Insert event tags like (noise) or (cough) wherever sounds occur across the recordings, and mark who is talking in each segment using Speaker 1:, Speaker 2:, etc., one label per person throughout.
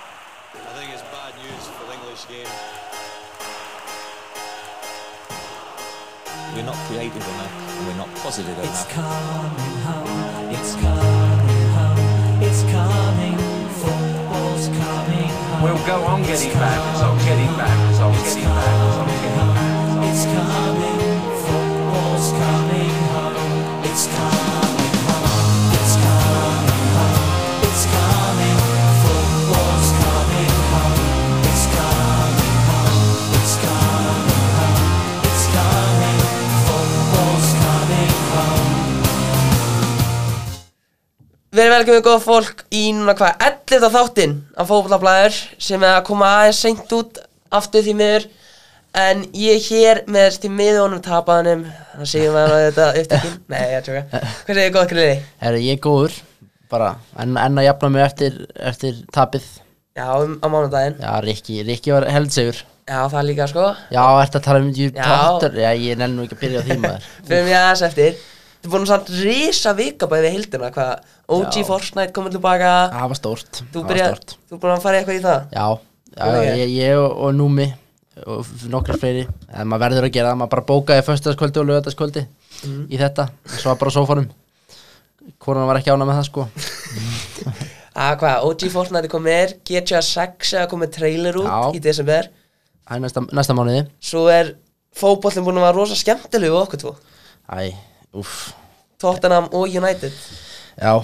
Speaker 1: I think it's bad news for the English game.
Speaker 2: We're not creative enough and we're not positive
Speaker 3: It's
Speaker 2: enough.
Speaker 3: coming home, it's coming home, it's coming, football's coming home.
Speaker 4: We'll go on getting back, so getting back, so getting back, so getting back. So
Speaker 3: It's coming, football's coming home, it's coming home, it's coming home, it's coming, football's coming home, it's coming home, it's coming home, it's coming, football's coming home.
Speaker 5: Verið velkomið góða fólk í núna hvað 11. þáttinn af fótballablaður sem er að koma aðeins seint út aftur því miður en ég er hér með því miður honum tapaðanum þannig segjum maður að þetta
Speaker 6: (laughs)
Speaker 5: upptökin Nei, ég er tjóka Hvað segir góða grilli?
Speaker 6: Herra, ég er góður, bara, en, en að jafna mig eftir, eftir tapið.
Speaker 5: Já, um, á mánudaginn
Speaker 6: Já, Rikki, Rikki var heldsegur.
Speaker 5: Já, það líka sko
Speaker 6: Já, ertu að tala um
Speaker 5: Já.
Speaker 6: djúptáttur? Já, ég nenni nú ekki að byrja á því maður.
Speaker 5: Fyrir mér aðeins eftir Þú er búin að samt risa vika bæði við hildina hvað OG
Speaker 6: Já.
Speaker 5: Fortnite komið tilbaka
Speaker 6: Það var stórt,
Speaker 5: Þú
Speaker 6: það var
Speaker 5: byrja,
Speaker 6: stórt.
Speaker 5: þú er búin að fara í eitthvað í það
Speaker 6: Já, já,
Speaker 5: Þú
Speaker 6: já,
Speaker 5: byrjar.
Speaker 6: ég, ég og, og Númi og f- nokkrir fleiri. En maður verður að gera það, maður bara bókaði föstudagskvöldi og lögadagskvöldi
Speaker 5: Mm.
Speaker 6: í þetta. Svo var bara á sófanum. Konan var ekki ána með það, sko.
Speaker 5: Að Ah, hvað, OG Fortnite er komið GTA 6 er komið trailer út
Speaker 6: Já.
Speaker 5: í desember
Speaker 6: Það er næsta, næsta mánuði.
Speaker 5: Svo er fótbollin búin að vera rosa skemmtilegu við okkur tvo
Speaker 6: Æ, uff.
Speaker 5: Tottenham og United
Speaker 6: Já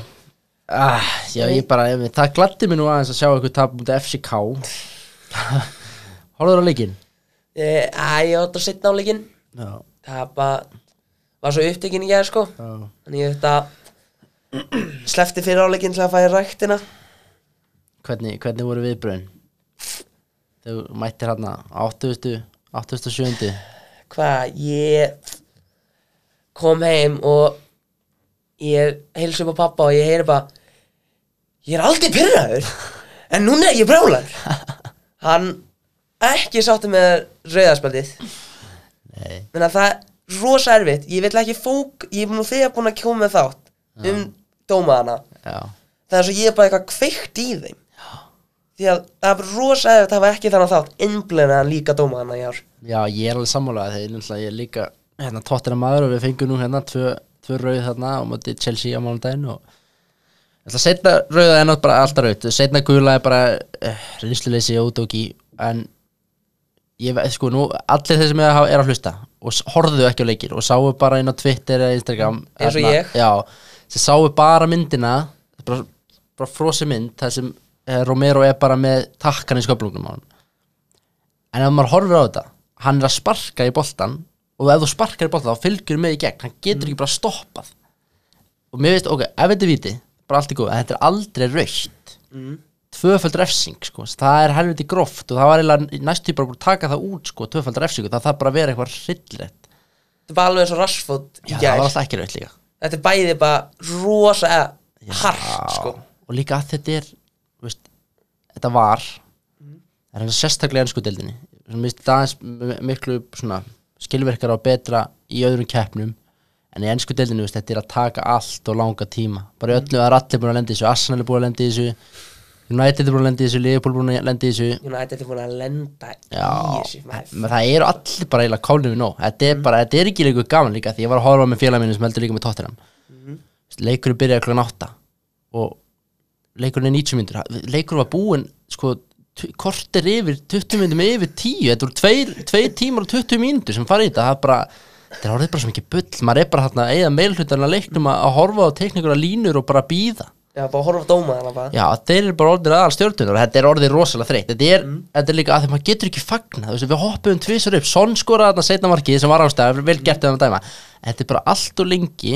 Speaker 6: ah, Já, ég bara, ég, það gladdi mér nú aðeins að sjá eitthvað tap mútið FCK Horfður á leikinn?
Speaker 5: Eh, Æ, ég átt að setna á leikinn
Speaker 6: Já
Speaker 5: Það bara var svo upptekinn í gæði sko
Speaker 6: Já.
Speaker 5: Þannig ég þetta slefti fyrir áleikinn til að færa ræktina
Speaker 6: Hvernig, hvernig voru viðbröðin? Þau mættir hérna 80, 87
Speaker 5: Hvað, ég kom heim og ég heilsa upp á pappa og ég heyri bara Ég er aldrei pyrraður En núna er ég brálar Hann ekki sátti með rauðarspaldið
Speaker 6: Nei
Speaker 5: Menna það er rosa erfitt Ég vil ekki fók Ég er nú þegar búin að kjóma með þátt Um dómaðana
Speaker 6: Já,
Speaker 5: Það er svo ég er bara eitthvað kveikt í þeim Því að það er bara rosa erfitt Það var ekki þannig þátt Innblenaðan líka dómaðana í ár
Speaker 6: Já ég er alveg sammálaði þegar náttúrulega ég er líka hérna tóttina maður og við fengum nú hérna tvö, tvö rauð þarna á móti Chelsea á mánudaginn og Ætla að setna rauða ennátt bara alltaf raut Setna gula er bara uh, reynsluleysi og útóki En ég veit sko nú Allir þeir sem er að hafa- eru að hlusta Og s- horfðu ekki á leikir Og sáu bara inn á Twitter eða Instagram
Speaker 5: Eins og
Speaker 6: hérna,
Speaker 5: ég.
Speaker 6: Já, sem sáu bara myndina Bara, bara frosi mynd Það sem eh, Romero er bara með takkan í sköflungnum á hann En ef maður horfir á þetta Hann er að sparka í boltan Og ef þú sparkar í boltan þá fylgjur með í gegn Hann getur ekki bara stoppað og mér veist, ok, ef þetta er viti bara allt í góð, en þetta er aldrei raukt tvöföld refsing, sko það er helviti gróft og það var eiginlega næstu bara búin að taka það út, sko, tvöföld refsing og það þarf bara að vera eitthvað hryllrætt
Speaker 5: Þetta er bara alveg eins og rassfót
Speaker 6: já, það var alltaf ekki raukt líka
Speaker 5: Þetta er bæði bara rosa eða hart sko
Speaker 6: og líka að þetta er, þú veist þetta var það er hann sérstaklega ennsku deildinni mér veist það aðeins m- miklu svona skilverkar og betra í öðrum keppnum en í ennsku deildinni, þú veist, þetta er að taka allt og langa tíma, bara í öllu það er allir búin að lenda í þessu, Arsenal er búin að lenda í þessu United er búin að lenda í þessu, Liverpool er búin að lenda í þessu
Speaker 5: United er búin að lenda í
Speaker 6: Já,
Speaker 5: þessu maður.
Speaker 6: menn það eru allir bara eiginlega kálnum við nóg Þetta er bara, þetta er ekki leikur gaman líka Því ég var að horfa með félag mínu sem heldur líka með tóttinam Leikurinn byrjaði klokkan 8 Og leikurinn er 90 myndur Leikurinn var búinn, sko tu- Kortir yfir, 20 myndum yfir 10 Þetta voru tveir, tveir tímar og 20 myndur Sem farið í þetta, það er bara Þetta er orðið bara sem ekki bull, maður er bara þarna að Eða meilhlutarinn að leiknum að að horfa á teknikur að línur Og bara býða
Speaker 5: Já, bara horfa á dóma þarna bara
Speaker 6: Já, þeir eru bara orðir aðal stjórnunar þetta er orðið rosalega þreytt þetta er, þetta er líka að því maður getur ekki fagna þú veist, við hoppum tvisar upp, Son skoraði þarna setna markið sem var ástæða, vel gert um að dæma En þetta er bara allt og lengi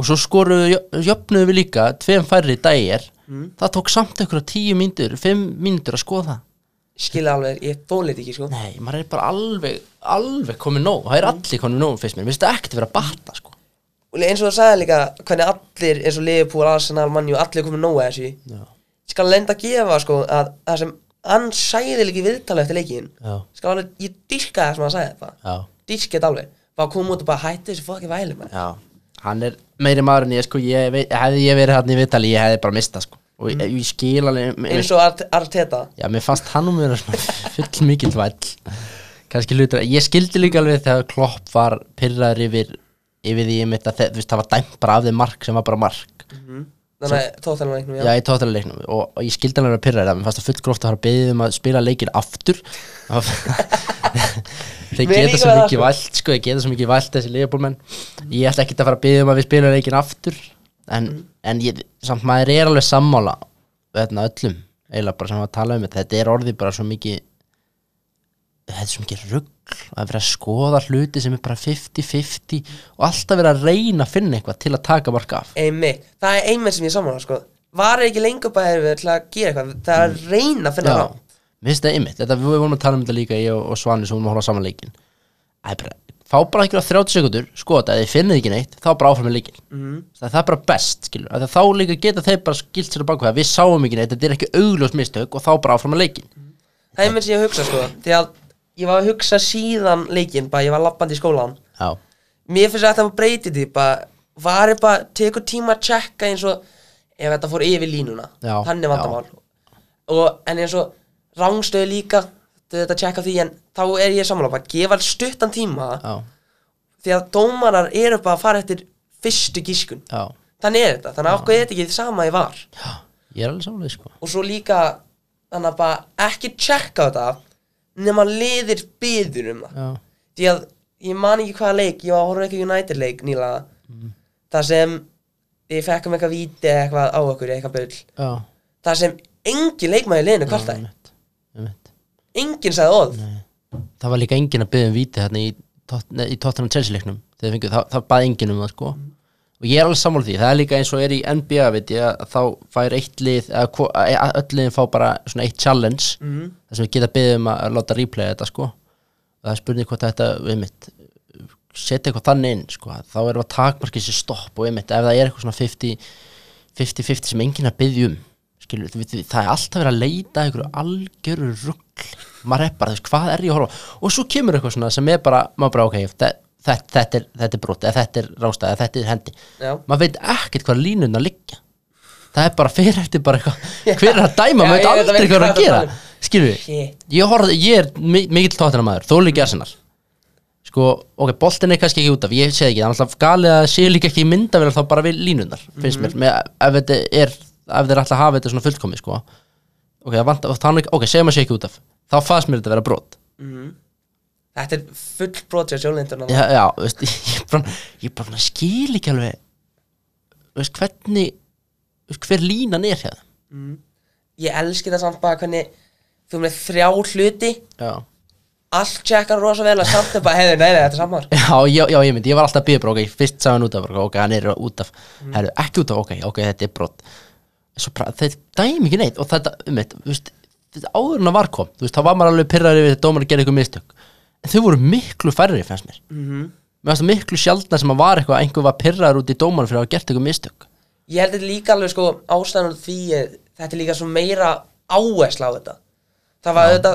Speaker 6: og svo skoruðu, jö- jöfnuðu við líka tveim færri dægir það tók samt einhverja tíu mínútur, fimm mínútur að skoða það.
Speaker 5: Skilja alveg, ég þólið ekki sko
Speaker 6: nei, maður er bara alveg alveg komið nóg, það er allir komið nóg fyrst mér, mér finnst þetta ekkert vera að batta sko.
Speaker 5: Og eins og það sagði líka hvernig allir eins og Liverpool, Arsenal, Manju, allir komið nóg að þessu
Speaker 6: Já.
Speaker 5: Ég skal lenda að gefa sko að það sem hann sæði líka í viðtala eftir leikin
Speaker 6: Já.
Speaker 5: Skal alveg, ég dyrka það sem hann sagði bara
Speaker 6: Já.
Speaker 5: Dyrka þetta alveg Bara koma út og bara hætti þessu fokki væli maður
Speaker 6: Já, hann er meiri maður en ég sko, ég, veit- hefði ég verið hann í vitali, ég hefði bara mistað sko og ég, ég skil alveg mér,
Speaker 5: Mm. eins og Art- Arteta
Speaker 6: já, mér fannst hann um mér svona full mikil væll kannski hlutur, ég skildi líka alveg þegar Klopp var pyrraður yfir yfir því ég mitt að þe- þú veist, það var dæmt bara af þeim mark sem var bara mark
Speaker 5: þannig að tóttan leiknum
Speaker 6: Já, ég tóð til að leiknum og, og ég skildi hann að vera pyrraðið að mér fannst það full gróft að fara að beðið um að spila leikir aftur (laughs) Þeir
Speaker 5: Mér líka
Speaker 6: geta svo
Speaker 5: það,
Speaker 6: mikið
Speaker 5: sko.
Speaker 6: vælt sko, þeir geta svo mikið vælt þessi leikbólmenn Ég ætla ekki að fara að beðið um að við spila leikir aftur en,
Speaker 5: Mm.
Speaker 6: en ég, samt maður er alveg sammála veðna öllum eiginlega bara sem var að tala um þetta Þetta er orðið bara svo mikið þetta er svo mikið rugg að vera að skoða hluti sem er bara 50-50 og alltaf vera að reyna að finna eitthvað til að taka marka af
Speaker 5: einmitt, það er einmitt sem ég saman sko. var ekki lengur bara erum við til að gera eitthvað það er að reyna að finna
Speaker 6: Já,
Speaker 5: rám
Speaker 6: mér finnst það einmitt þetta, Við vorum að tala um þetta líka ég og, og Svani sem vorum að horfa á saman leikin Það er bara, Fá bara einhverja 30 sekundur sko þetta, ef þið finnið ekki neitt, þá bara áfram með leikin mm. það, það er bara best, skilur af því að Þá líka geta þeir bara skilt sér á bakveða Við sáum ekki neitt, þetta er ekki augljós mistök og þá bara áfram með leikin
Speaker 5: það er mér sem ég hugsa sko því að ég var að hugsa síðan leikinn bara ég var lappandi í skólan
Speaker 6: Já,
Speaker 5: mér finnst að það var breytið því bara var ég bara tekur tíma að checka eins og ef þetta fór yfir línuna
Speaker 6: Já,
Speaker 5: þannig vandamál og en eins og rángstöðu líka þetta checka því en þá er ég samanlega bara gefa stuttan tíma
Speaker 6: já,
Speaker 5: því að dómarar eru bara að fara eftir fyrstu gískun
Speaker 6: já
Speaker 5: þannig er þetta, þannig að okkur er þetta ekki því sama ég var
Speaker 6: Ég er alveg samanlega sko
Speaker 5: og svo líka þannig að bara ekki checka þetta nema liðir byður um það
Speaker 6: Já,
Speaker 5: því að ég man ekki hvaða leik ég var að horfa ekki United leik nýla þar sem við fekkum eitthvað víti eða eitthvað á okkur eða eitthvað bull
Speaker 6: já,
Speaker 5: þar sem engin leikmaði liðinu kvartaði
Speaker 6: einmitt, einmitt.
Speaker 5: enginn sagði orð
Speaker 6: Það var líka enginn að byggja um víti hérna í, Tot- nei, í Tottenham Chelsea leiknum þegar fengu, það, það baði enginn um það sko og ég er alveg sammála því, það er líka eins og er í NBA veit ég að þá fær eitt lið að, að öll liðin fá bara svona eitt challenge þar sem við geta beðið um að láta replaya þetta sko og það er spurning hvort þetta við mitt setja eitthvað þannig inn sko að þá erum við að takmarkið sér stopp og við mitt ef það er eitthvað svona 50 50-50 sem enginn er að byggja um skilur, við, við, það er alltaf verið að leita að einhverju algjöru rugg maður er bara, þú veist, hvað er ég að horfa á? og svo kemur eitthvað svona sem er bara, maður bara ok þetta, þetta, þetta, er, þetta er brot, eða þetta er rástað eða þetta er hendi,
Speaker 5: Já.
Speaker 6: maður veit ekkert hvað línuna liggja það er bara fyrir eftir bara eitthvað hver er að
Speaker 5: (laughs)
Speaker 6: dæma,
Speaker 5: Já,
Speaker 6: maður veit
Speaker 5: ég veit
Speaker 6: aldrei
Speaker 5: ekki
Speaker 6: hvað
Speaker 5: hvað
Speaker 6: er að
Speaker 5: það
Speaker 6: gera
Speaker 5: tala um.
Speaker 6: skilur við,
Speaker 5: Shit.
Speaker 6: ég, horf, ég er mi- mikill tóttina maður, þó líka arsenal sko, ok, boltin er kannski ekki út af ég segi ekki, það er alltaf galið að sé líka ekki mynda vel þá bara við línunar, finnst mér með, ef þetta er, ef þeir ætla að hafa þetta svona fullkomið, sko ok, það vantar- þá er- ok, segjum að sé ekki út af þá fannst mér þetta vera brot
Speaker 5: þetta er full brot sér sjólindurna
Speaker 6: já, já, veist, (laughs) ég bara, ég bara svona skil ekki alveg veist, hvernig veist, hver línan er hérna
Speaker 5: ég elski það samt bara hvernig þú erum með þrjá hluti
Speaker 6: já,
Speaker 5: allt checkar rosa vel og samt er bara heiður, nei, nei, þetta er samar
Speaker 6: já, já, já, ég myndi, ég var alltaf að býða bara, ok, fyrst sagði hann út af, bara, ok, hann er út af herru, ekki út af, ok, ok, þetta er brot svo bara, þeir dæmi ekki neitt og þetta, um eitt, þú veist þetta áður en að var kom, þú veist, þá var maður alveg pyrraður yfir þetta dómar að gera eitthvað mistök en þau voru miklu færri, fannst mér mér fannst það miklu sjaldna sem að var eitthvað að einhver var pyrraður út í dómar fyrir að hafa gert eitthvað mistök
Speaker 5: ég held þetta líka alveg sko ástæðan af því að þetta er líka svo meira áhersla á þetta það var þetta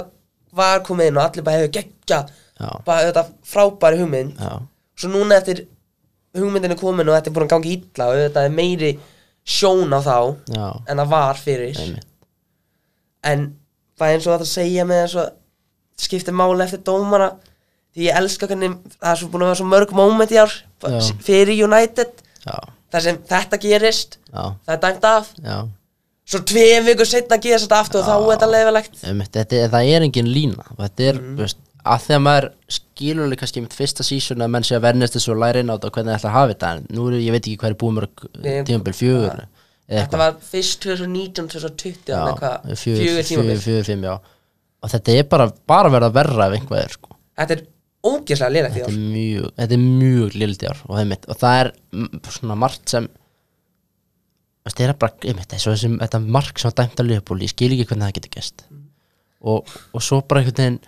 Speaker 5: var komið inn og allir bara hefur geggjað
Speaker 6: Já.
Speaker 5: bara þetta frábæri hugmynd
Speaker 6: já,
Speaker 5: svo núna eftir hugmyndin er komin og þetta er búin að ganga illa og þetta er meiri sjón á þá
Speaker 6: já,
Speaker 5: en það var fyrir
Speaker 6: einmitt
Speaker 5: en bara eins og þetta segja með þess að skipta máli eftir dómara því ég elska hvernig það er svo búin að vera svo mörg moment í ár
Speaker 6: Já.
Speaker 5: fyrir United
Speaker 6: já,
Speaker 5: þar sem þetta gerist
Speaker 6: já,
Speaker 5: það er dæmt af
Speaker 6: já
Speaker 5: svo tvei vikur setna gerist þetta aftur og þá er þetta leifilegt
Speaker 6: um, þetta, er- það er engin lína og þetta er,
Speaker 5: Mhm.
Speaker 6: mm. veist, að þegar maður skilur líka kannski mitt fyrsta sísun að menn sé að vernist þessu og læra inn á þetta og hvernig það ætla að hafa þetta en nú er, ég veit ekki hvað er búið mörg eh,
Speaker 5: Við-
Speaker 6: tímabil fjögur eða
Speaker 5: þetta
Speaker 6: eitthvað.
Speaker 5: var fyrst 2019, 2020
Speaker 6: Já,
Speaker 5: þannig hvað,
Speaker 6: fjögur,
Speaker 5: fjögur tímabil
Speaker 6: fjögur, fjögur, fimm, já og þetta er bara, bara verða verra ef einhvað er sko
Speaker 5: þetta er ógeðslega leilegt í
Speaker 6: þetta
Speaker 5: ár
Speaker 6: er mjög, þetta er mjög lildjár og, einmitt, og það er mm, svona margt sem veist, það er bara einmitt, þessu, þessu, þetta mark sem var dæmt að liðbúl ég skil ekki hvernig það getur gæst og, og svo bara einhvern veginn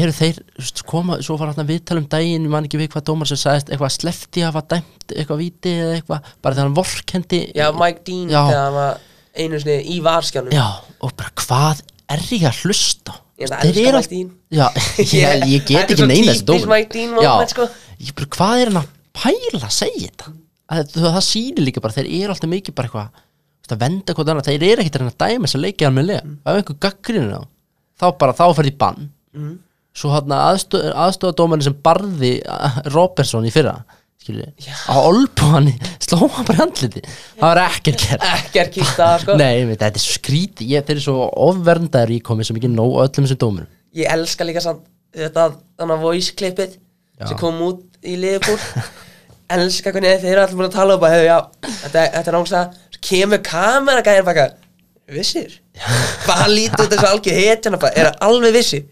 Speaker 6: eru þeir, þú veist, koma, svo var hann að viðtala um daginn, ég man ekki við hvað dómar sem sagðist eitthvað slefti að var dæmt, eitthvað viti eða eitthvað, bara þegar hann vorkendi
Speaker 5: já, Mike Dean
Speaker 6: Já.
Speaker 5: þegar hann var einu sinni í varskjánum
Speaker 6: Já, og bara hvað er ég að hlusta á?
Speaker 5: Ég
Speaker 6: Þeir
Speaker 5: elska
Speaker 6: eru
Speaker 5: Mike
Speaker 6: að-
Speaker 5: Dean.
Speaker 6: Já,
Speaker 5: (laughs)
Speaker 6: ég, ég
Speaker 5: Þetta
Speaker 6: get
Speaker 5: er
Speaker 6: ekki
Speaker 5: svo
Speaker 6: neina
Speaker 5: típist
Speaker 6: þessi dómur
Speaker 5: Mike Dean moment, sko.
Speaker 6: Ég bara, hvað er hann að pæla að segja þetta? Að, það, það sýnir líka bara, þeir eru alltaf mikið bara eitthvað það venda hvort annað, þeir eru ekkert að reyna að dæma þess að leikja almennilega, mm. ef einhver gaggrinu þá þá bara, þá fer því bann
Speaker 5: Mm.
Speaker 6: svo hann aðstofa dómarin sem barði a- Robertson í fyrra skilur við, á olbu hann sló hann bara í andliti, það var ekkert gert
Speaker 5: (laughs) ekki er kýrt það
Speaker 6: (laughs)
Speaker 5: sko
Speaker 6: Nei, ég veit, þetta er svo skrítið, ég, þeir eru svo ofverndar í komið sem ekki nóg á öllum sem dómur
Speaker 5: ég elska líka samt þetta þannig að voice klippið sem kom út í liðbúl elska hvernig þeir eru allir búin að tala um bara, "Heyrðu, já, þetta, þetta er náttúrulega svo kemur kameragæðin baka vissir, hvað hann lítur út þessu algjör hetjana bara, er hann alveg vissi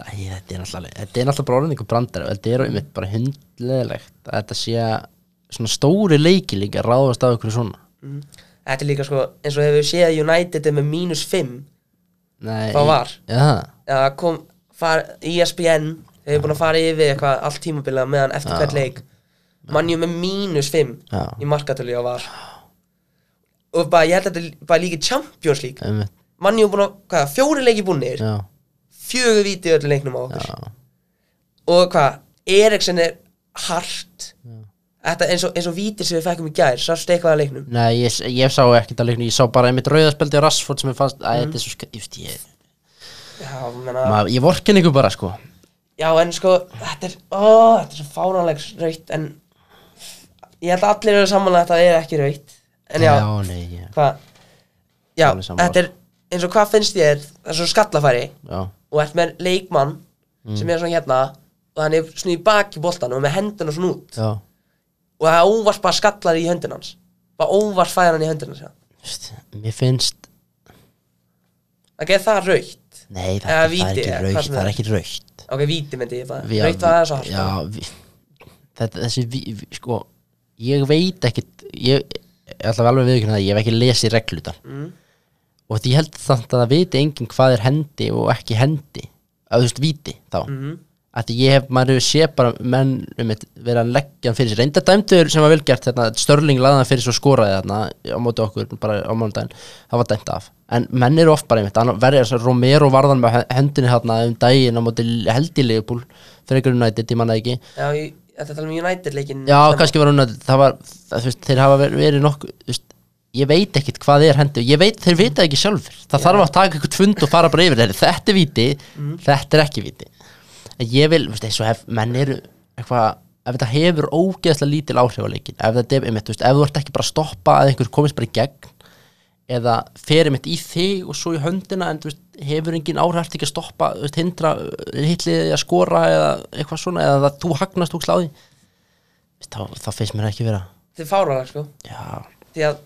Speaker 6: Æ, þetta er náttúrulega, þetta er náttúrulega bara orðin ykkur brandar Þetta er einmitt bara hundleðilegt að þetta sé að svona stóri leiki líka ráðast af ykkur svona
Speaker 5: þetta er líka sko, eins og hefur séð að United er með mínus 5
Speaker 6: Nei,
Speaker 5: Hvað var?
Speaker 6: Ja,
Speaker 5: eða kom, far, E ESPN þeir eru búin að fara yfir eitthvað allt tímabilið á meðan eftir hvert leik mannjum með mínus 5
Speaker 6: Já.
Speaker 5: í markatölu á var og bara, ég held að þetta er bara líka Champions League
Speaker 6: einmitt,
Speaker 5: mannjum búin að, hvað, fjóri leiki búinir
Speaker 6: já,
Speaker 5: fjögur víti í öllu leiknum á okkur
Speaker 6: já,
Speaker 5: og hvað, Eriksson er hart þetta eins og, eins og víti sem við fekkum í gær sástu eitthvað að leiknum
Speaker 6: Nei, ég, ég sá ekkert að leiknum, ég sá bara einmitt rauðaspeldi á Rassford sem ég fannst, æ, þetta er svo skar, just, ég,
Speaker 5: já, menna,
Speaker 6: ma, ég vorkin ykkur bara, sko
Speaker 5: Já, en sko, þetta er, ó, þetta er svo fáránlegs raukt, en ég held að allir eru samanlega að þetta er ekki raukt. En já,
Speaker 6: já nei, ég,
Speaker 5: hvað, já,
Speaker 6: Alveg sammála.
Speaker 5: þetta er, eins og hvað finnst þér, það er svo skallafæri
Speaker 6: já,
Speaker 5: og ert með leikmann
Speaker 6: Mm.
Speaker 5: sem er svona hérna og hann er svona í baki boltan og með hendina svona út
Speaker 6: já
Speaker 5: og það er óvart bara skallar í höndin hans, bara óvart fæðan hann í höndin hans, já.
Speaker 6: Just, Mér finnst,
Speaker 5: Ok, það er raukt.
Speaker 6: nei,
Speaker 5: Eða
Speaker 6: það, það, er
Speaker 5: víti,
Speaker 6: ekki
Speaker 5: eða hvað
Speaker 6: raukt,
Speaker 5: sem
Speaker 6: það
Speaker 5: er.
Speaker 6: er ekki raukt
Speaker 5: Ok, víti myndi ég bara,
Speaker 6: Við-
Speaker 5: raukt var það svo hart.
Speaker 6: já, við, þetta, þessi vi, vi, sko, ég veit ekkit ég ég ætla alveg viðkjörna það ég hef ekki lesið reglutar mm. og því ég held þannig að það viti enginn hvað er hendi og ekki hendi að þú veist viti þá mm. að ég hef, maður hefur sé bara menn um eitt, verið að leggja hann fyrir sér reynda dæmdur sem var vel gert þarna, Störling laði hann fyrir svo skoraði þarna á móti okkur bara á mánudaginn, það var dæmt af en menn eru oft bara einmitt, hann verður þess að Romero varðan með he- hendinni þarna um daginn á móti heldilegu fyrir ykkur United, ég manna ekki
Speaker 5: Já, ég, þetta tala um United leikinn.
Speaker 6: Já, kannski var hún að það var, það, þú veist, þeir hafa verið, verið nokkuð, þú veist, ég veit ekkit hvað er hendi og ég veit, þeir vita ekki sjálfur það þarf að taka eitthvað tvund og fara bara yfir þeir, þetta er viti, þetta er ekki viti en ég vil, þú veist, eins og hef menn eru eitthvað, ef þetta hefur ógeðslega lítil áhrif á leikin ef þetta er, einmitt, þú veist, ef þú ert ekki bara að stoppa að einhver komist bara í gegn eða ferið mitt í þig og svo í höndina en þú veist, hefur engin áhræft ekki að stoppa þú veist, hindra, hitlið að skora eða eitthvað svona, eða það þú hagnast þú sláði þá, þá finnst mér ekki vera
Speaker 5: Þetta er fáránlega, sko.
Speaker 6: já,
Speaker 5: því að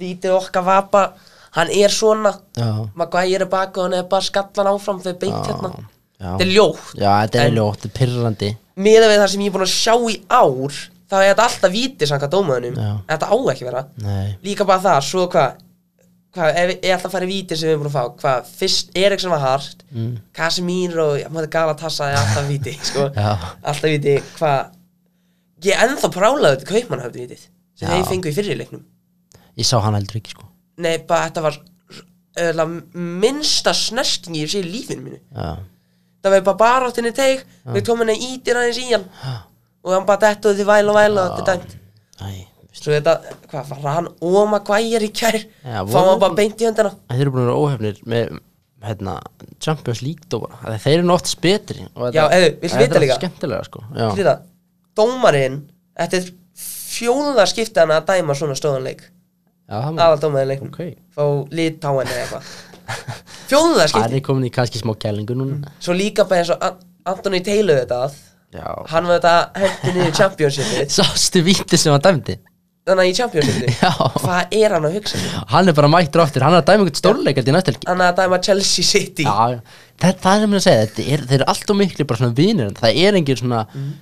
Speaker 5: vítið okkar var bara hann er svona
Speaker 6: já,
Speaker 5: Maguire er baka og hann er bara skallan áfram þegar beint hérna
Speaker 6: já
Speaker 5: þetta er ljótt
Speaker 6: já, þetta er
Speaker 5: En-
Speaker 6: ljótt, þetta er pirrandi
Speaker 5: miðað við það sem ég er búin að sjá í ár þá er þetta alltaf vítið samkvæmt dómaðunum
Speaker 6: Já.
Speaker 5: þetta á ekki vera
Speaker 6: nei,
Speaker 5: líka bara það, svo hvað hva, er alltaf að fara í vítið sem við erum búin að fá hvað, fyrst Eriksson var hart mm. Casemiro, já, maður gala tassaði alltaf víti sko,
Speaker 6: (laughs) Já.
Speaker 5: alltaf víti hvað, ég er ennþá prálaði þetta kaupmannhöfði vítið sem
Speaker 6: Já.
Speaker 5: þeir fengu í fyrirleiknum
Speaker 6: ég sá hann heldur ekki sko
Speaker 5: Nei, bara þetta var öðla, minnsta snerting ég sé í lífinu mínu
Speaker 6: já,
Speaker 5: Það var bara baráttinni teik, við tómum henni ítir aðeins í hann og hann bara dettuði því væl og væl og þetta er dæmt
Speaker 6: nei veist,
Speaker 5: Svo þetta, hvað var hann óma gvæjar í kær
Speaker 6: Já,
Speaker 5: Fá hann
Speaker 6: voru-
Speaker 5: bara beint í höndina
Speaker 6: þeir eru búin að vera óhefnir með hérna, Champions League dómara Af því að þeir eru nótt betri og þetta-
Speaker 5: Já, eða, viltu
Speaker 6: þetta er
Speaker 5: vita líka?
Speaker 6: allt skemmtilega sko já,
Speaker 5: Fyrir það, dómarinn, þetta er fjóða skipti hann að dæma svona stóðanleik
Speaker 6: já, það má-
Speaker 5: Aðal dómaðin leiknum
Speaker 6: Mm. ok
Speaker 5: Fá litáin eða eitthvað
Speaker 6: (laughs)
Speaker 5: Fjóða
Speaker 6: hann
Speaker 5: skipti
Speaker 6: er komin í kannski smá kælingu núna
Speaker 5: Svo líka bara eins og An- Anthony Taylor þetta að
Speaker 6: já,
Speaker 5: Hann var þetta hendi niður í
Speaker 6: (laughs)
Speaker 5: championshipið
Speaker 6: sástu víti sem hann dæmdi
Speaker 5: þannig að í Championsinu
Speaker 6: (laughs) Já.
Speaker 5: hvað er hann að hugsa sér?
Speaker 6: hann er bara mættur áttir, hann er að dæma einhvern stórleikandi í næstelgi
Speaker 5: hann er að dæma Chelsea City
Speaker 6: Já, já. það, það er mér að segja, þetta er, þeir eru allt og miklu bara svona vinir, en það er engin svona,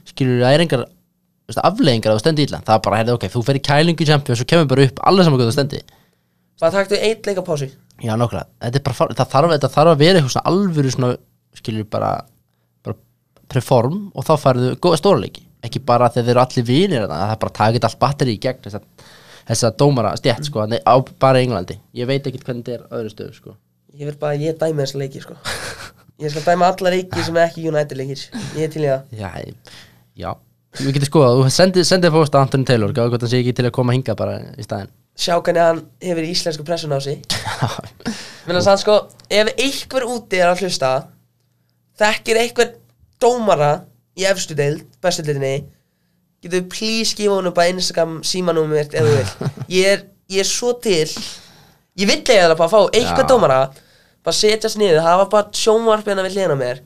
Speaker 6: skilur, það er engar þú veist, afleiðingar að þú stendi illa, það er bara, heyrðu, ok, þú fer í kælingu í champions og kemur bara upp, allir saman hvað þú stendi
Speaker 5: bara taktu eitt leika pási
Speaker 6: Já, nokkla, þetta er bara, far- það þarf, þetta þarf að vera eitthvað svona alvöru svona, skilur, bara, bara perform og þá færðu góða stórleiki, ekki bara þegar þeir eru allir vinir, þarna, það er bara að taka þetta allt batteri í gegn þess að, þess að dómara stjætt, sko, nei, á bara í Englandi, ég veit ekkert hvernig þetta er á öðru stöðu, sko
Speaker 5: ég vil bara að ég dæmi þessa leiki
Speaker 6: (laughs)
Speaker 5: sko ég skal dæma alla leiki sem er ekki United leikir ég er til í það
Speaker 6: Já, ég- já Við getum skoðað, þú sendið sendi fóst að Anthony Taylor Gáðu hvort hann sé ekki til að koma hinga bara í staðinn
Speaker 5: sjá hvernig hann hefur íslensku pressun á
Speaker 6: (laughs)
Speaker 5: sig Minna sann sko, ef einhver úti er að hlusta Þekkir einhver dómara í efstu deild, bestu deildinni Getur við please gefa honum bara Instagram símanúmer ef þú
Speaker 6: (laughs)
Speaker 5: vil Ég er, ég er svo til Ég vill eiga það bara að fá einhver
Speaker 6: Já.
Speaker 5: dómara Bara setjast niður, hafa bara sjónvarpina við hliðina á mér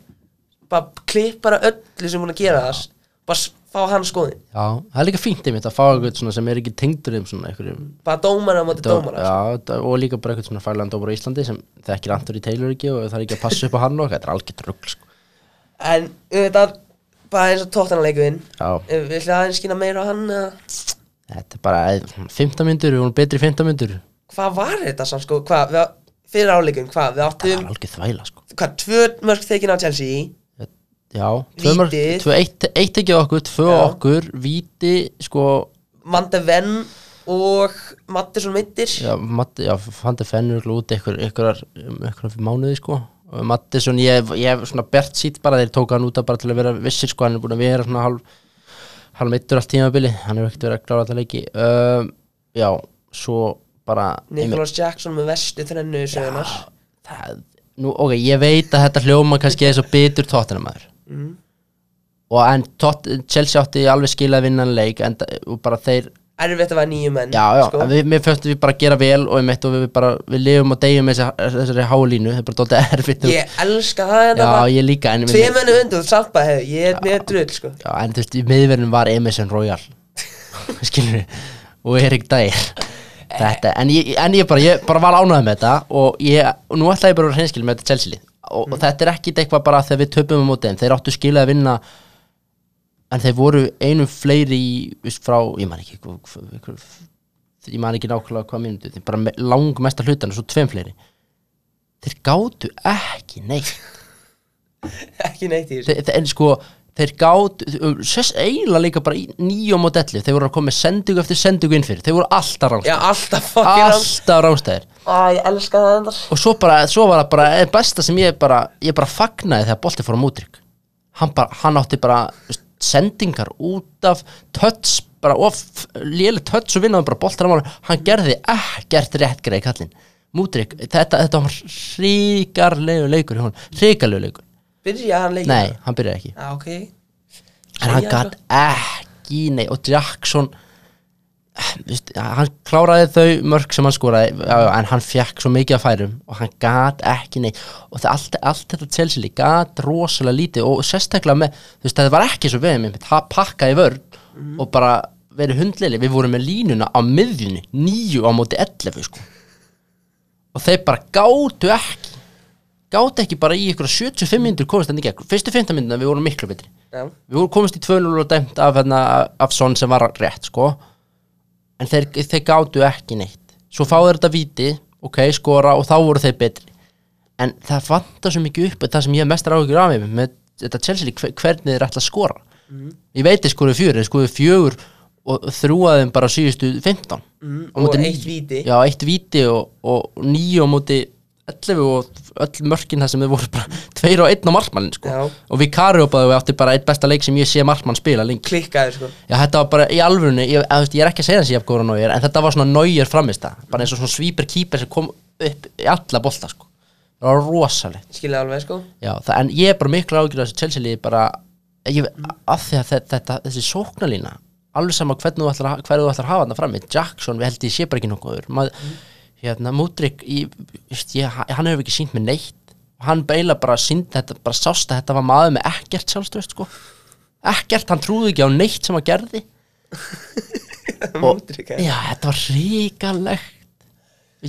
Speaker 5: Bara klipp bara öllu sem hún að gera það Bara s- fá hann skoðin
Speaker 6: Já, það er líka fínt einmitt að fá eitthvað svona sem er ekki tengdur um svona einhverjum
Speaker 5: Bara dómara á móti dómara
Speaker 6: Já, d- og líka bara eitthvað svona fælan dómar á Íslandi sem þekkir Anthony Taylor ekki og það er ekki að passa upp á hann og þetta er algjört rugl sko.
Speaker 5: En auðvitað, bara eins og tóttanleikurinn
Speaker 6: Já,
Speaker 5: Vil það aðeins skýna meira á hann eða?
Speaker 6: þetta er bara eh, 15 myndur, við vorum betri 15 myndur Það
Speaker 5: Hvað var þetta samt sko? Hvað, við, fyrir áleikum, hvað? Við áttum,
Speaker 6: er algjör þvæla sko
Speaker 5: hvað, tvö mörg þekin á Chelsea
Speaker 6: Já, tvö mörg,
Speaker 5: Víti.
Speaker 6: tvö, eitt, eitt ekki á okkur, tvö á
Speaker 5: Já.
Speaker 6: okkur, víti, sko,
Speaker 5: Mandeven og Mattisson meittir
Speaker 6: já, Matti, já, fandi fennur út einhver, einhverjar, um, einhverjar mánuði, sko. Og Mattisson, ég, ég hef svona bert sýtt bara, þeir tóka hann út af bara til að vera vissir, sko, hann er búin að vera svona hálf, hálf meittur allt tímabili, hann hefur ekkert verið að klára alltaf leiki. Um, já, svo bara...
Speaker 5: Nicholas Jackson með vestu þrennu sögunar
Speaker 6: það, nú, ok, ég veit að þetta hljóma kannski eins og bitur tóttina maður og en tótt, Chelsea átti alveg skil að vinna hann leik en, og bara þeir,
Speaker 5: Erfitt að vera nýju menn
Speaker 6: já, já,
Speaker 5: sko.
Speaker 6: en við, mér fyrst við bara gera vel og einmitt og við bara, við lifum og deyjum með þessa- þessari hálínu, það er bara dóttið erfitt og-
Speaker 5: Ég elska það hérna,
Speaker 6: já,
Speaker 5: þetta bara
Speaker 6: ég líka en,
Speaker 5: Tvei mennu undur, samt bara hefur, ég er með drull sko (laughs)
Speaker 6: já, en þú veist, í miðverðin var Emerson Royal skilur við og Erik Dær þetta, en ég, en ég bara, ég bara var ánægð með þetta og, ég, og nú ætla ég bara að reynskilja með þetta Chelsea lið og, og þetta er ekki eitthvað bara þegar við töpum á móti þeim, þeir áttu skilja að vinna en þeir voru einum fleiri í, veist, frá, ég man ekki hvað- hvað- hvað- ég man ekki nákvæmlega hvað mínútu þeir bara me- langmesta hlutan og svo tveim fleiri þeir gátu ekki neitt
Speaker 5: Ekki neitt í þessu
Speaker 6: þeir, þeir, en sko þeir gátt, sérst eiginlega líka bara í nýjum og dellu, þeir voru að koma með sendingu eftir sendingu inn fyrir, þeir voru alltaf
Speaker 5: Já,
Speaker 6: rángstæðir
Speaker 5: alltaf fucking rann
Speaker 6: alltaf rángstæðir
Speaker 5: Æ, ég elska það hérna. þetta
Speaker 6: og svo bara, svo var það bara, eh, besta sem ég bara ég bara fagnaði þegar bolti fór á mútrygg hann bara, hann átti bara þú veist, sendingar út af tötts, bara of léli tötts og vinnaði bara boltar á mánu, hann gerði ekkert rétt greið kallinn, mútrygg þetta, þetta var hríkarlegu leikur hjá honum, hríkarlegu leikur
Speaker 5: Byrja hann leikin
Speaker 6: nei, hann byrjaði ekki
Speaker 5: Já, ok
Speaker 6: en hann
Speaker 5: Segja
Speaker 6: gæt ekki nei, og Jackson eh, veist, hann kláraði þau mörg sem hann skoraði já, já, en hann fekk svo mikið að færum og hann gæt ekki nei og það allt, allt þetta Chelsea lið gæt rosalega lítið og sérstaklega með þú veist, það var ekki svo veðum það pakkaði vörn og bara verið hundleili, við vorum með línuna á miðjunni, nýju á móti 11 sko. og þeir bara gátu ekki gátu ekki bara í ykkur 75 myndur komast þannig gegn, fyrstu 15 mynduna við vorum miklu betri
Speaker 5: Já,
Speaker 6: við vorum komist í 2-0 og dæmt af, hérna, af son sem var rétt sko. en þeir, þeir gátu ekki neitt svo fá þeir þetta viti ok, skora og þá voru þeir betri en það vantar svo mikið upp það sem ég hef mestar áhugur af mér með þetta Chelsea lið, hver, hvernig þeir ætla að skora
Speaker 5: Mhm.
Speaker 6: ég veit þeir skoðu fjögur, þeir skoðu fjögur og þrúaðum bara síðustu 15 mm,
Speaker 5: Mhm. og eitt víti.
Speaker 6: já, eitt víti og, og nýju á móti 11 og öll mörkin það sem þeir voru bara 2 og 1 á markmannin sko.
Speaker 5: Já.
Speaker 6: og við karjópaðu við átti bara eitt besta leik sem ég sé markmann spila lengi
Speaker 5: klikkaði sko
Speaker 6: Já, þetta var bara í alvörunni, ég, að, þú veist, ég er ekki að segja þessi jafngóra nógir, en þetta var svona nógir framist það, bara eins og svona svíper kýper sem kom upp í alla bolta, sko. Það var rosalegt.
Speaker 5: Skilja alveg
Speaker 6: (laughs)
Speaker 5: sko
Speaker 6: Já, það, en ég er bara miklu ágjur að þessu Chelsea liði bara, ég, af því að þe- þetta, þessi sóknalína, alveg sama hvernig þú ætlar, að ha- hverju þú ætlar að hafa þarna frammi, Jackson, við held ég sé bara ekki nokkuður, maður, hérna, Mudrik, ég, just, ég, hann hefur ekki sínt með neitt, hann beila bara sínt þetta, bara sást að þetta var maður með ekkert sjálfstöðst, sko. Ekkert, hann trúði ekki á neitt sem hann gerði.
Speaker 5: Mótrykka
Speaker 6: Já, þetta var ríkalegt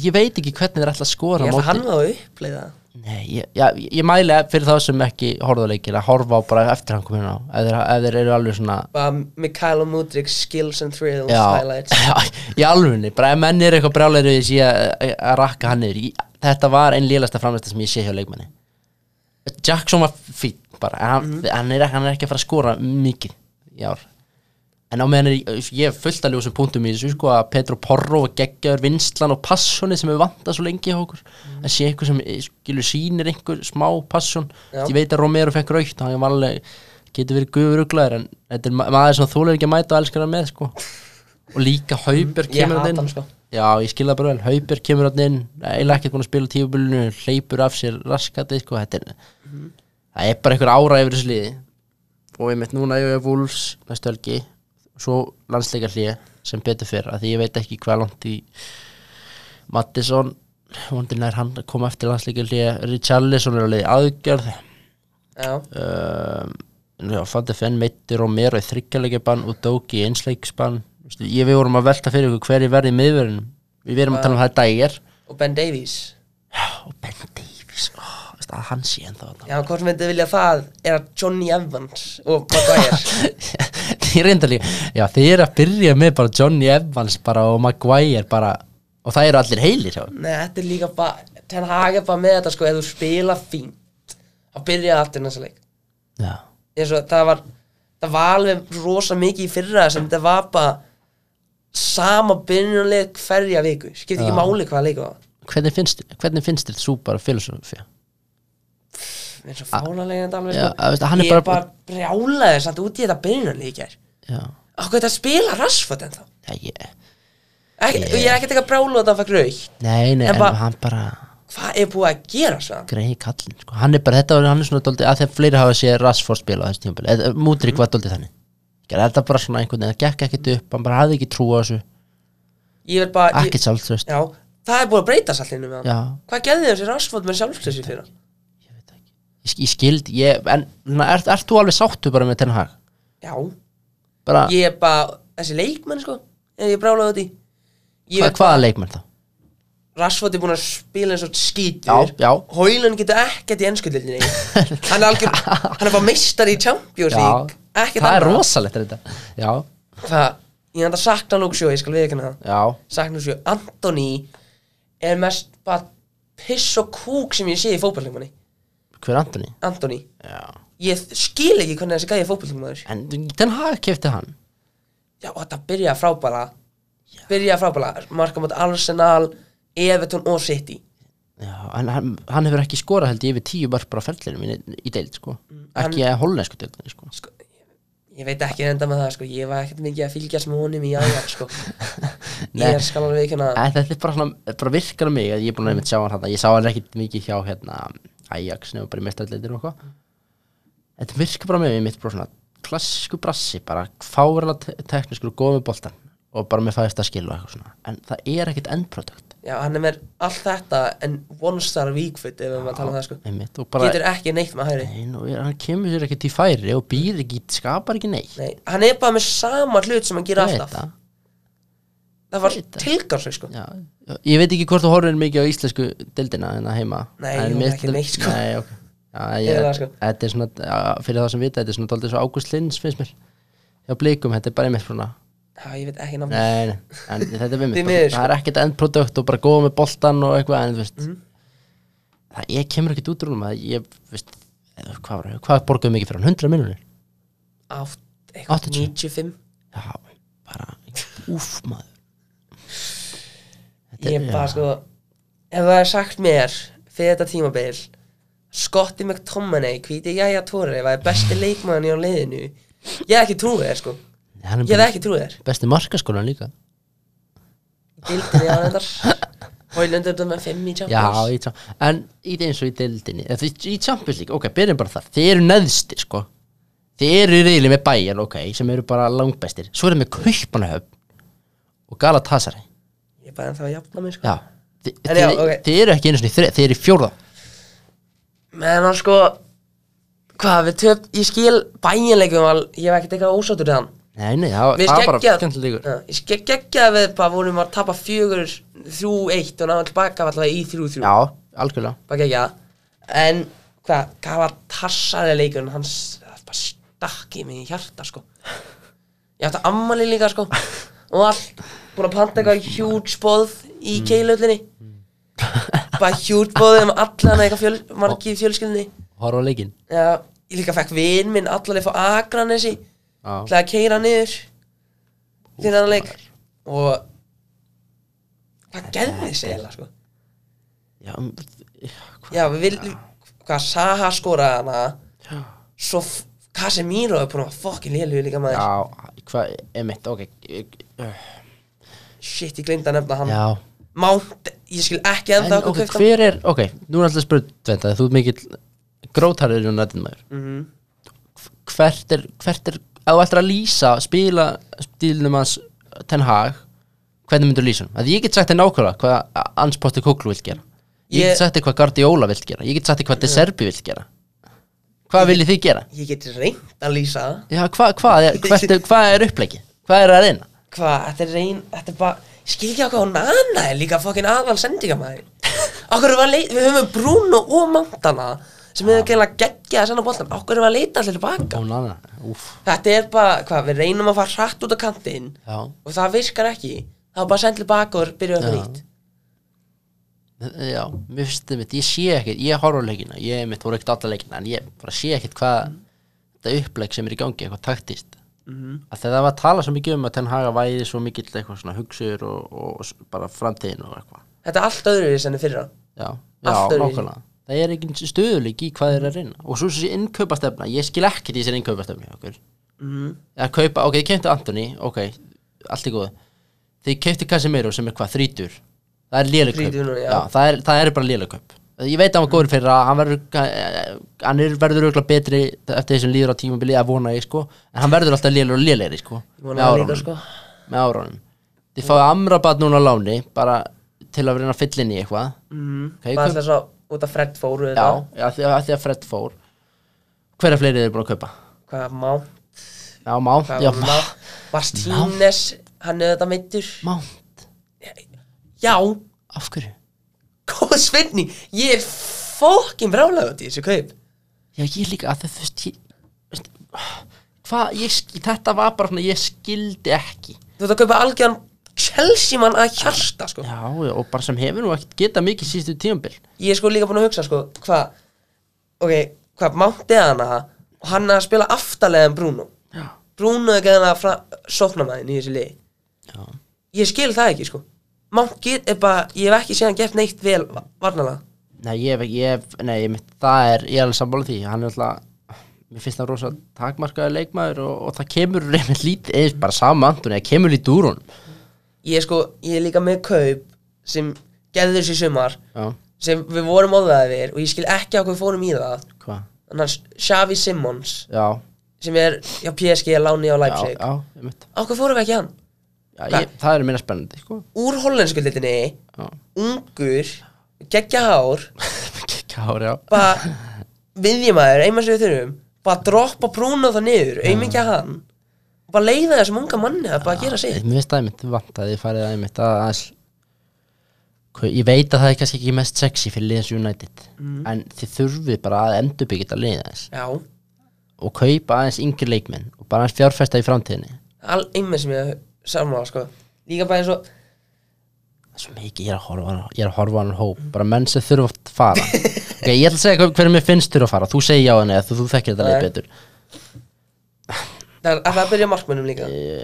Speaker 6: Ég veit ekki hvernig þeir ætla að skora
Speaker 5: Ég
Speaker 6: á
Speaker 5: ætla
Speaker 6: móti-
Speaker 5: hann að uppleiða
Speaker 6: Nei, ég, já, ég mæli fyrir þá sem ekki horfðu á leikir að horfa á bara eftir hann komin á ef þeir, ef þeir eru alveg svona
Speaker 5: Bara Mikael Mudrik skills and thrills
Speaker 6: Já,
Speaker 5: highlights
Speaker 6: (laughs) já í alvunni, bara ef menn eru eitthvað brjálæri í síðan að að rakka hann niður Ég- Þetta var einn lélasta framlista sem ég sé hjá leikmanni Jackson var fín bara, en hann,
Speaker 5: Mhm.
Speaker 6: hann, er, ekki- hann er ekki að fara að skora mikið í ár En á meðan er, ég- ég er fullt að ljósum punktum í þessu sko að Petro Porro og geggjaður vinslan og passjóni sem við vantað svo lengi hjá okkur
Speaker 5: Mhm.
Speaker 6: að sé einhver sem eh, skilur sýnir einhver smá passjón
Speaker 5: Já.
Speaker 6: ég veit að Romero fekk raukt hann var alveg, getur verið guðuruglaður en þetta er ma maður sem þú leir ekki að mæta og elskar hann með sko og líka Hauberg
Speaker 5: Mm, Ég
Speaker 6: kemur
Speaker 5: hata
Speaker 6: hann
Speaker 5: hann,
Speaker 6: inn
Speaker 5: sko.
Speaker 6: já, ég skilða bara vel, Haupir kemur hann inn eiginlega ekkert búin að spila tífabulinu hleypur af sér raskati, sko, þetta er
Speaker 5: Mhm.
Speaker 6: það er bara einhver ára yfir þessu liði og ég mitt núna ég er Wolves næstu helgi, svo landsleika hlýja sem betur fyrir, af því ég veit ekki hvað langt í Mattisson vondir nær hann að koma eftir landsleika hlýja Richarlison er alveg aðgjörð
Speaker 5: Já,
Speaker 6: um, já, Fandi Fenn meittir og mér í þryggjarleikjabann og Dóki í einsleiksbann Vistu, ég við vorum að velta fyrir ykkur hverju verði í miðverðinum við verum að tala um það dægir
Speaker 5: og Ben Davies
Speaker 6: og Ben Davies, ó, veistu, að hann sé ennþá þarna. (laughs)
Speaker 5: Já, hvort sem myndi vilja það er að Johnny Evans og
Speaker 6: (laughs)
Speaker 5: Maguire
Speaker 6: Þið er reyndar líka Já, þið er að byrja með bara Johnny Evans bara og Maguire bara og það eru allir heilir hjá þeim.
Speaker 5: Nei, þetta er líka bara Ten Hag er bara með þetta sko, ef þú spila fínt að byrja aftur næsta leik
Speaker 6: Já,
Speaker 5: eins og það var það var alveg rosa mikið í fyrra sem þetta var bara sama byrjunleik hverja viku skipti ekki máli hvaða leiku það
Speaker 6: hvernig finnst, hvernig finnst þér þú bara filosofía?
Speaker 5: var eins og fánalega þetta alveg
Speaker 6: Já, að veistu, hann
Speaker 5: sko.
Speaker 6: er
Speaker 5: ég er
Speaker 6: bara-
Speaker 5: bara brjálaði samt út í þetta byrjunleik er
Speaker 6: Já,
Speaker 5: okkur þetta spila rassfot en þá
Speaker 6: já ég,
Speaker 5: Ek, ég er ekkert eitthvað brjálu að það fæk raukt
Speaker 6: Nei, nei,
Speaker 5: En
Speaker 6: en
Speaker 5: bara-
Speaker 6: hann bara
Speaker 5: hvað er búið að gera svo
Speaker 6: greiði kallin sko. hann er bara, þetta var hann er svona dóldi að þegar fleiri hafa séð Rashford spila á þessu tímabili Mútrík var dóldi þannig Gerði þetta bara svona einhvern veginn, það gekk ekkert upp hann bara hafði ekki trú á þessu,
Speaker 5: ég vil bara ég,
Speaker 6: ekkert sjálfströst
Speaker 5: já, það er búið að breyta sallinu með
Speaker 6: Já.
Speaker 5: hann hvað gerði þessi rassfot með sjálfslösi fyrir
Speaker 6: ég, sk- ég skild, ég, en na, er, ert þú alveg sáttu bara með Ten Hag
Speaker 5: já,
Speaker 6: bara,
Speaker 5: ég er bara þessi leikmenn sko, ég er brjálaði út í ég
Speaker 6: hva,
Speaker 5: vil
Speaker 6: hvaða leikmenn þá
Speaker 5: Rashford er búinn að spila eins og
Speaker 6: Já,
Speaker 5: skýtur
Speaker 6: já.
Speaker 5: Hoylund getur ekkert í ennskuldildinni hann, er
Speaker 6: (laughs)
Speaker 5: algjör- hann er bara meistar í Champions League ekkert
Speaker 6: það er
Speaker 5: annað.
Speaker 6: rosalegt er þetta já,
Speaker 5: Það- ég hann að sakna Luxjó, ég skal viðkynna það
Speaker 6: já,
Speaker 5: sakna Luxjó, Antoni er mest bara piss og kúk sem ég sé í fótballingmanni
Speaker 6: hver er Antoni
Speaker 5: Antoni,
Speaker 6: já.
Speaker 5: ég skil ekki hvernig þessi gæði fótballingmaður
Speaker 6: en Ten Hag kefti hann
Speaker 5: já, og þetta byrjaði frábæla byrjaði frábæla, marka mot Arsenal Everton og City
Speaker 6: já, en, hann, hann hefur ekki skorað held ég yfir tíu bara bara fellinu mín í, í deild sko.
Speaker 5: Mm,
Speaker 6: ekki hann... hollensku deildinni sko.
Speaker 5: sko, ég veit ekki enda með það sko. ég var ekkert mikið að fylgjast með honum í Ajax sko. ég
Speaker 6: Nei.
Speaker 5: er skal alveg ekki hana
Speaker 6: En þetta er bara, svona, bara virkar á mig að ég er búin að einmitt sjá hann þetta ég sá hann ekkit mikið hjá hérna Ajax nefnum bara í mestarleitir og eitthvað þetta virkar bara á mig, ég mitt bara svona klassísku brassi, bara fárala teknískur og góð með boltan og bara með fæðist að skil og eitthvað svona en það er ekkit endprodukt
Speaker 5: já, hann er með allt þetta en one star weak foot ef við erum að tala um það sko.
Speaker 6: einmitt, og bara,
Speaker 5: getur ekki neitt með hæri
Speaker 6: Nei, nú er- hann kemur sér ekkit í færi og býr ekki, skapar ekki neitt
Speaker 5: Nei, hann er bara með sama hlut sem hann gerir
Speaker 6: Ég veit
Speaker 5: alltaf
Speaker 6: það.
Speaker 5: það var
Speaker 6: Ég veit það.
Speaker 5: tilgangsveik sko.
Speaker 6: Já, ég veit ekki hvort þú horfir mikið á íslensku deildina en að heima
Speaker 5: Nei,
Speaker 6: En
Speaker 5: ég
Speaker 6: mér
Speaker 5: horfi ekki
Speaker 6: til-
Speaker 5: neitt, sko.
Speaker 6: Nei, ok Já,
Speaker 5: Ég
Speaker 6: ég,
Speaker 5: er það, sko.
Speaker 6: Þetta er svona, ja, fyrir það sem vita, þetta er svona daldið svo Ágúst Lins finnst mér Já, blikum, þetta er bara einmitt svona
Speaker 5: já, ég veit ekki náttúrulega
Speaker 6: Nei, nei, en þetta er
Speaker 5: Því
Speaker 6: einmitt
Speaker 5: miður, sko.
Speaker 6: bara- Það er ekkert endprodukt og bara góða með boltan og eitthvað en þú veist
Speaker 5: Mhm.
Speaker 6: Það, ég kemur ekkert út úr húnum að ég, veist eða Hvað, var- hvað borguðu mikið fyrir hann? 100 miljonir?
Speaker 5: átt, eitthvað
Speaker 6: 80.
Speaker 5: 95
Speaker 6: Já, bara, úff maður Þetta
Speaker 5: ég er bara sko ef það er sagt mér fyrir þetta tímabil Scotty McTominay, hvíti Jæja Tóri var besti leikmann í á leiðinu ég hef ekki trúið þér sko
Speaker 6: Hann er
Speaker 5: ég hef
Speaker 6: bara
Speaker 5: ekki trúið þér
Speaker 6: besti markaskólan líka
Speaker 5: Dildinni á þetta
Speaker 6: (laughs)
Speaker 5: Hólundur þetta með 5 í
Speaker 6: Já,
Speaker 5: Champions
Speaker 6: í, Cham- en í eins og í deildinni eða þú- í Champions League, ok, byrjum bara þar þið eru neðstir, sko þið eru reyli með Bayern, ok, sem eru bara langbæstir, svo eru með Kaupanahöfn og Galatasaray
Speaker 5: Ég er bara ennþá að jafna mig sko
Speaker 6: já, þið,
Speaker 5: En já,
Speaker 6: þið,
Speaker 5: ok.
Speaker 6: þið eru ekki einu sinni í þrið, þið eru í fjórða
Speaker 5: Menn hann sko Hvað við töp Ég skil bæinleikum al, Ég hef ekkert eitthvað ósáttur í hann
Speaker 6: nei, nei, það
Speaker 5: Við
Speaker 6: það var bara skemmtilegur
Speaker 5: geggjað Ég skil geggjað að við bara vorum að tapa fjögur Þrjú eitt og náðum tilbaka allavega í þrjú þrjú
Speaker 6: já, algjörlega
Speaker 5: Bara geggjað En hvað Gala tassari leikur Hann s- það bara stakk í mig í hjarta sko Ég átti ammali líka sko Og allt Búin að panta eitthvað huge boð Í
Speaker 6: Mm.
Speaker 5: keilöllinni Bara huge boð um allan eitthvað fjöl, Margið fjölskyldinni
Speaker 6: horfa á leikinn
Speaker 5: Já, ég líka fekk vin minn allaveg frá Akranesi
Speaker 6: Já.
Speaker 5: Það að keira niður Fyrir hann leik Og Hvað gerði þessi eiginlega sko
Speaker 6: já, um,
Speaker 5: Já, við viljum Hvað Saha skoraði hana Svo f- Casemiro er búin að fokkin lélu líka maður
Speaker 6: já, hvað, emitt, ok eh, eh,
Speaker 5: shit, ég gleyndi að nefna hann
Speaker 6: Já,
Speaker 5: Mount, ég skil ekki
Speaker 6: en
Speaker 5: enda
Speaker 6: ok, hver er, ok, nú er alltaf spurt Tventa, þú ert mikill grótarður og nættin maður Hvert er, hvert er, að þú ættir að lýsa spila stílnum hans Ten Hag, hvernig myndur lýsa hann? Að ég get sagt þér nákvæmlega hvað Ans Potti Kóklu vill gera Ég,
Speaker 5: Ég-
Speaker 6: get sagt þér hvað Guardiola vill gera Ég get sagt þér hvað De Serbi vill gera Hvað viljið þið gera?
Speaker 5: Ég get reynd að lýsa það
Speaker 6: Já, hvað hva er, hvert er, hva er upplegið? Hvað er að reyna?
Speaker 5: Hvað, þetta er reyn, þetta er bara Ég skil ekki á hvað hún annað er líka fokkin aðval sendingamæður Okkur var að leita, við höfum Bruno og Mountana sem hefur gæla geggjað að senda boltan Okkur var að leita allir tilbaka
Speaker 6: Ó, nana, úf
Speaker 5: Þetta er bara, hvað, við reynum að fara hratt út á kantinn
Speaker 6: Já.
Speaker 5: og það virkar ekki þá bara send tilbaka og byrjuðu upp á
Speaker 6: Já.
Speaker 5: nýtt
Speaker 6: Já, mér finnst þetta mitt, ég sé ekkert, ég horf á leikina, ég mitt voru ekkert alla leikina, en ég bara sé ekkert hvað þetta upplegg sem er í gangi, eitthvað taktist. Mm -hmm. Þegar það var að tala svo mikið um að Ten Haga væri svo mikill eitthvað svona hugsur og, og s- bara framtíðin og eitthvað.
Speaker 5: Þetta er allt öðruvísi enn í fyrra
Speaker 6: Já, já,
Speaker 5: Allt öðruvísi.
Speaker 6: nákvæmlega. Það er ekki stöðuleik í hvað þeir eru að reyna. Og svo þessi innkaupastefna, ég skil ekkert í þessi innkaupastefna hjá okkur.
Speaker 5: Mhm.
Speaker 6: Mm. Að kaupa, ok, þið kemtu Antoni, ok, allt í góðu. Þið kemtu Casemiro sem er hvað, þrítur. Það er léleg kaup.
Speaker 5: Þrítugur, já.
Speaker 6: það, er, það er bara léleg kaup. Ég veit að hann var góður fyrir að hann verður, eh, hann er- verður auðvitað betri eftir því sem líður á tímabili að vona ég sko. En hann verður alltaf lélegur og lélegri sko.
Speaker 5: Ég vona
Speaker 6: með
Speaker 5: það líka,
Speaker 6: árunum
Speaker 5: sko.
Speaker 6: með árunum Þið fáið Amrabat núna á láni bara til að reyna að fylla inn í eitthvað mm, okay,
Speaker 5: Bara
Speaker 6: kaup,
Speaker 5: alltaf svo út af Fred fóru
Speaker 6: Já,
Speaker 5: þetta
Speaker 6: já því, að, því að Fred fór Hverja fleiri þið eru búin að kaupa?
Speaker 5: Hvað, Mount,
Speaker 6: Já, Mount
Speaker 5: hvað
Speaker 6: já,
Speaker 5: var Mount Martínez, hann er þetta meittur
Speaker 6: Mount,
Speaker 5: Já,
Speaker 6: af hverju?
Speaker 5: góð svinni Ég er fokkin brálaður út í þessu kaup
Speaker 6: Já, ég líka að það, þú veist, ég þú veist, Hvað, ég, sk- þetta var bara svona, ég skildi ekki
Speaker 5: Þú ert að kaupa algjörn Chelsea mann að hjarta, sko
Speaker 6: Já, já, og bara sem hefur nú ekkert geta mikið sístu tímabil
Speaker 5: Ég er sko líka búin að hugsa, sko, hvað Ok, hvað Mount er hana og hann er að spila aftarlega en Bruno
Speaker 6: Já,
Speaker 5: Bruno er gæðan að sókna maður í þessu liði
Speaker 6: já
Speaker 5: Ég skil það ekki, sko Mount get, er bara, ég hef ekki séðan gert neitt vel varnalega
Speaker 6: Nei, ég hef ekki, ég hef, nei, ég mitt, það er, ég er alveg sammála því, hann er alltaf, mér finnst það rosa takmarkaði leikmaður og, og það kemur reynd lítið, eða bara sama Antoni, það kemur lítið úr honum.
Speaker 5: ég er sko, ég er líka með kaup sem gerður sér sumar
Speaker 6: Já,
Speaker 5: sem við vorum óðaðið við og ég skil ekki á hvað við fórum í það
Speaker 6: hvað?
Speaker 5: annars Xavi Simmons
Speaker 6: Já,
Speaker 5: sem er hjá PSG, Láni og
Speaker 6: já,
Speaker 5: Leipzig
Speaker 6: já, ég mitt,
Speaker 5: á hvað fórum við ekki hann?
Speaker 6: já, ég, það er minna spennandi, (laughs) sko,
Speaker 5: Úr hollenskulditinni,
Speaker 6: já,
Speaker 5: ungur geggja hár,
Speaker 6: kár, já,
Speaker 5: bara viðjumæður, einmann sem við þurfum bara droppa Bruno það niður, aumingja hann bara leiða þessum unga manni að bara gera sitt
Speaker 6: mér finnst það einmitt vant að ég farið að einmitt að, að Hvað- ég veit að það er kannski ekki mest sexy fyrir liðans United, en þið þurfið bara að endurbyggja þetta liðið aðeins
Speaker 5: já,
Speaker 6: og kaupa aðeins yngri leikmenn og bara aðeins fjárfesta í framtíðinni
Speaker 5: all einmann sem ég saman sko, líka bara eins og
Speaker 6: Það er svo mikið, ég er að horfa á hann, ég er að horfa á hann hóp, bara menn sem þurfa að
Speaker 5: (laughs)
Speaker 6: fara ok, ég ætla að segja hver- hvernig mér finnst þurfa að fara þú segir já henni, þú, þú þekkir þetta leið
Speaker 5: Nei.
Speaker 6: betur
Speaker 5: það er alltaf að byrja á markmönnum líka
Speaker 6: e,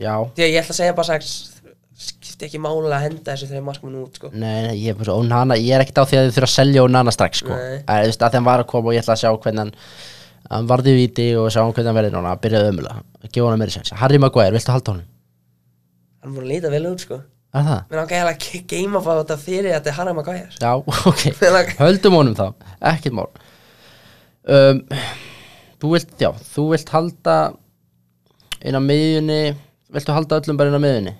Speaker 6: já,
Speaker 5: Því að ég ætla að segja bara sex skipti ekki máli að henda þessu þegar markmann út sko.
Speaker 6: nei, nei, ég er bara svo, ónana ég er ekkert á því að þið þurfa að selja ónana strax sko.
Speaker 5: Nei.
Speaker 6: að, þú veist, að þeim var að koma og ég ætla að sjá hvernig hann hann varði viti og sjá hvernig hann verði núna að byrjaði ömulega, að gefa hann meiri sens Harry Maguire, viltu halda honum?
Speaker 5: Hann búin að líta vel út sko.
Speaker 6: Er það?
Speaker 5: Mér langar eiginlega að geima bara þetta fyrir að þetta er Harry Maguire
Speaker 6: Já, (laughs) ok,
Speaker 5: Mér langar-
Speaker 6: höldum honum þá ekkert mál um, þú vilt, já, þú vilt halda inn á miðjunni viltu halda öllum bara inn á miðjunni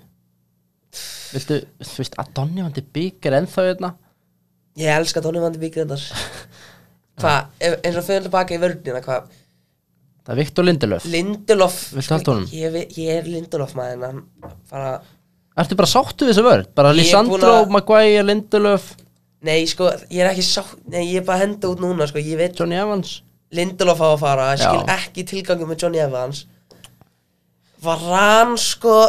Speaker 6: viltu, þú veist Adonni vandi byggar ennþá hérna
Speaker 5: Ég elska Tony Van de Beek reyndar Hvað, ef- eins og fyrir tilbaka í vörnina hvað,
Speaker 6: það er Viktor Lindelöf,
Speaker 5: Lindelof
Speaker 6: Viltu halda honum?
Speaker 5: Ég, vi- ég er Lindelof maður en hann bara,
Speaker 6: ertu bara sáttu við þessu vörð bara
Speaker 5: Ég er
Speaker 6: Lisandro,
Speaker 5: búin að-
Speaker 6: Maguire, Lindelöf
Speaker 5: Nei sko, ég er ekki sá Nei, ég er bara að henda út núna sko, ég veit
Speaker 6: Johnny Evans
Speaker 5: Lindelof á að fara, ég skil
Speaker 6: Já.
Speaker 5: ekki tilgangu með Johnny Evans Varan sko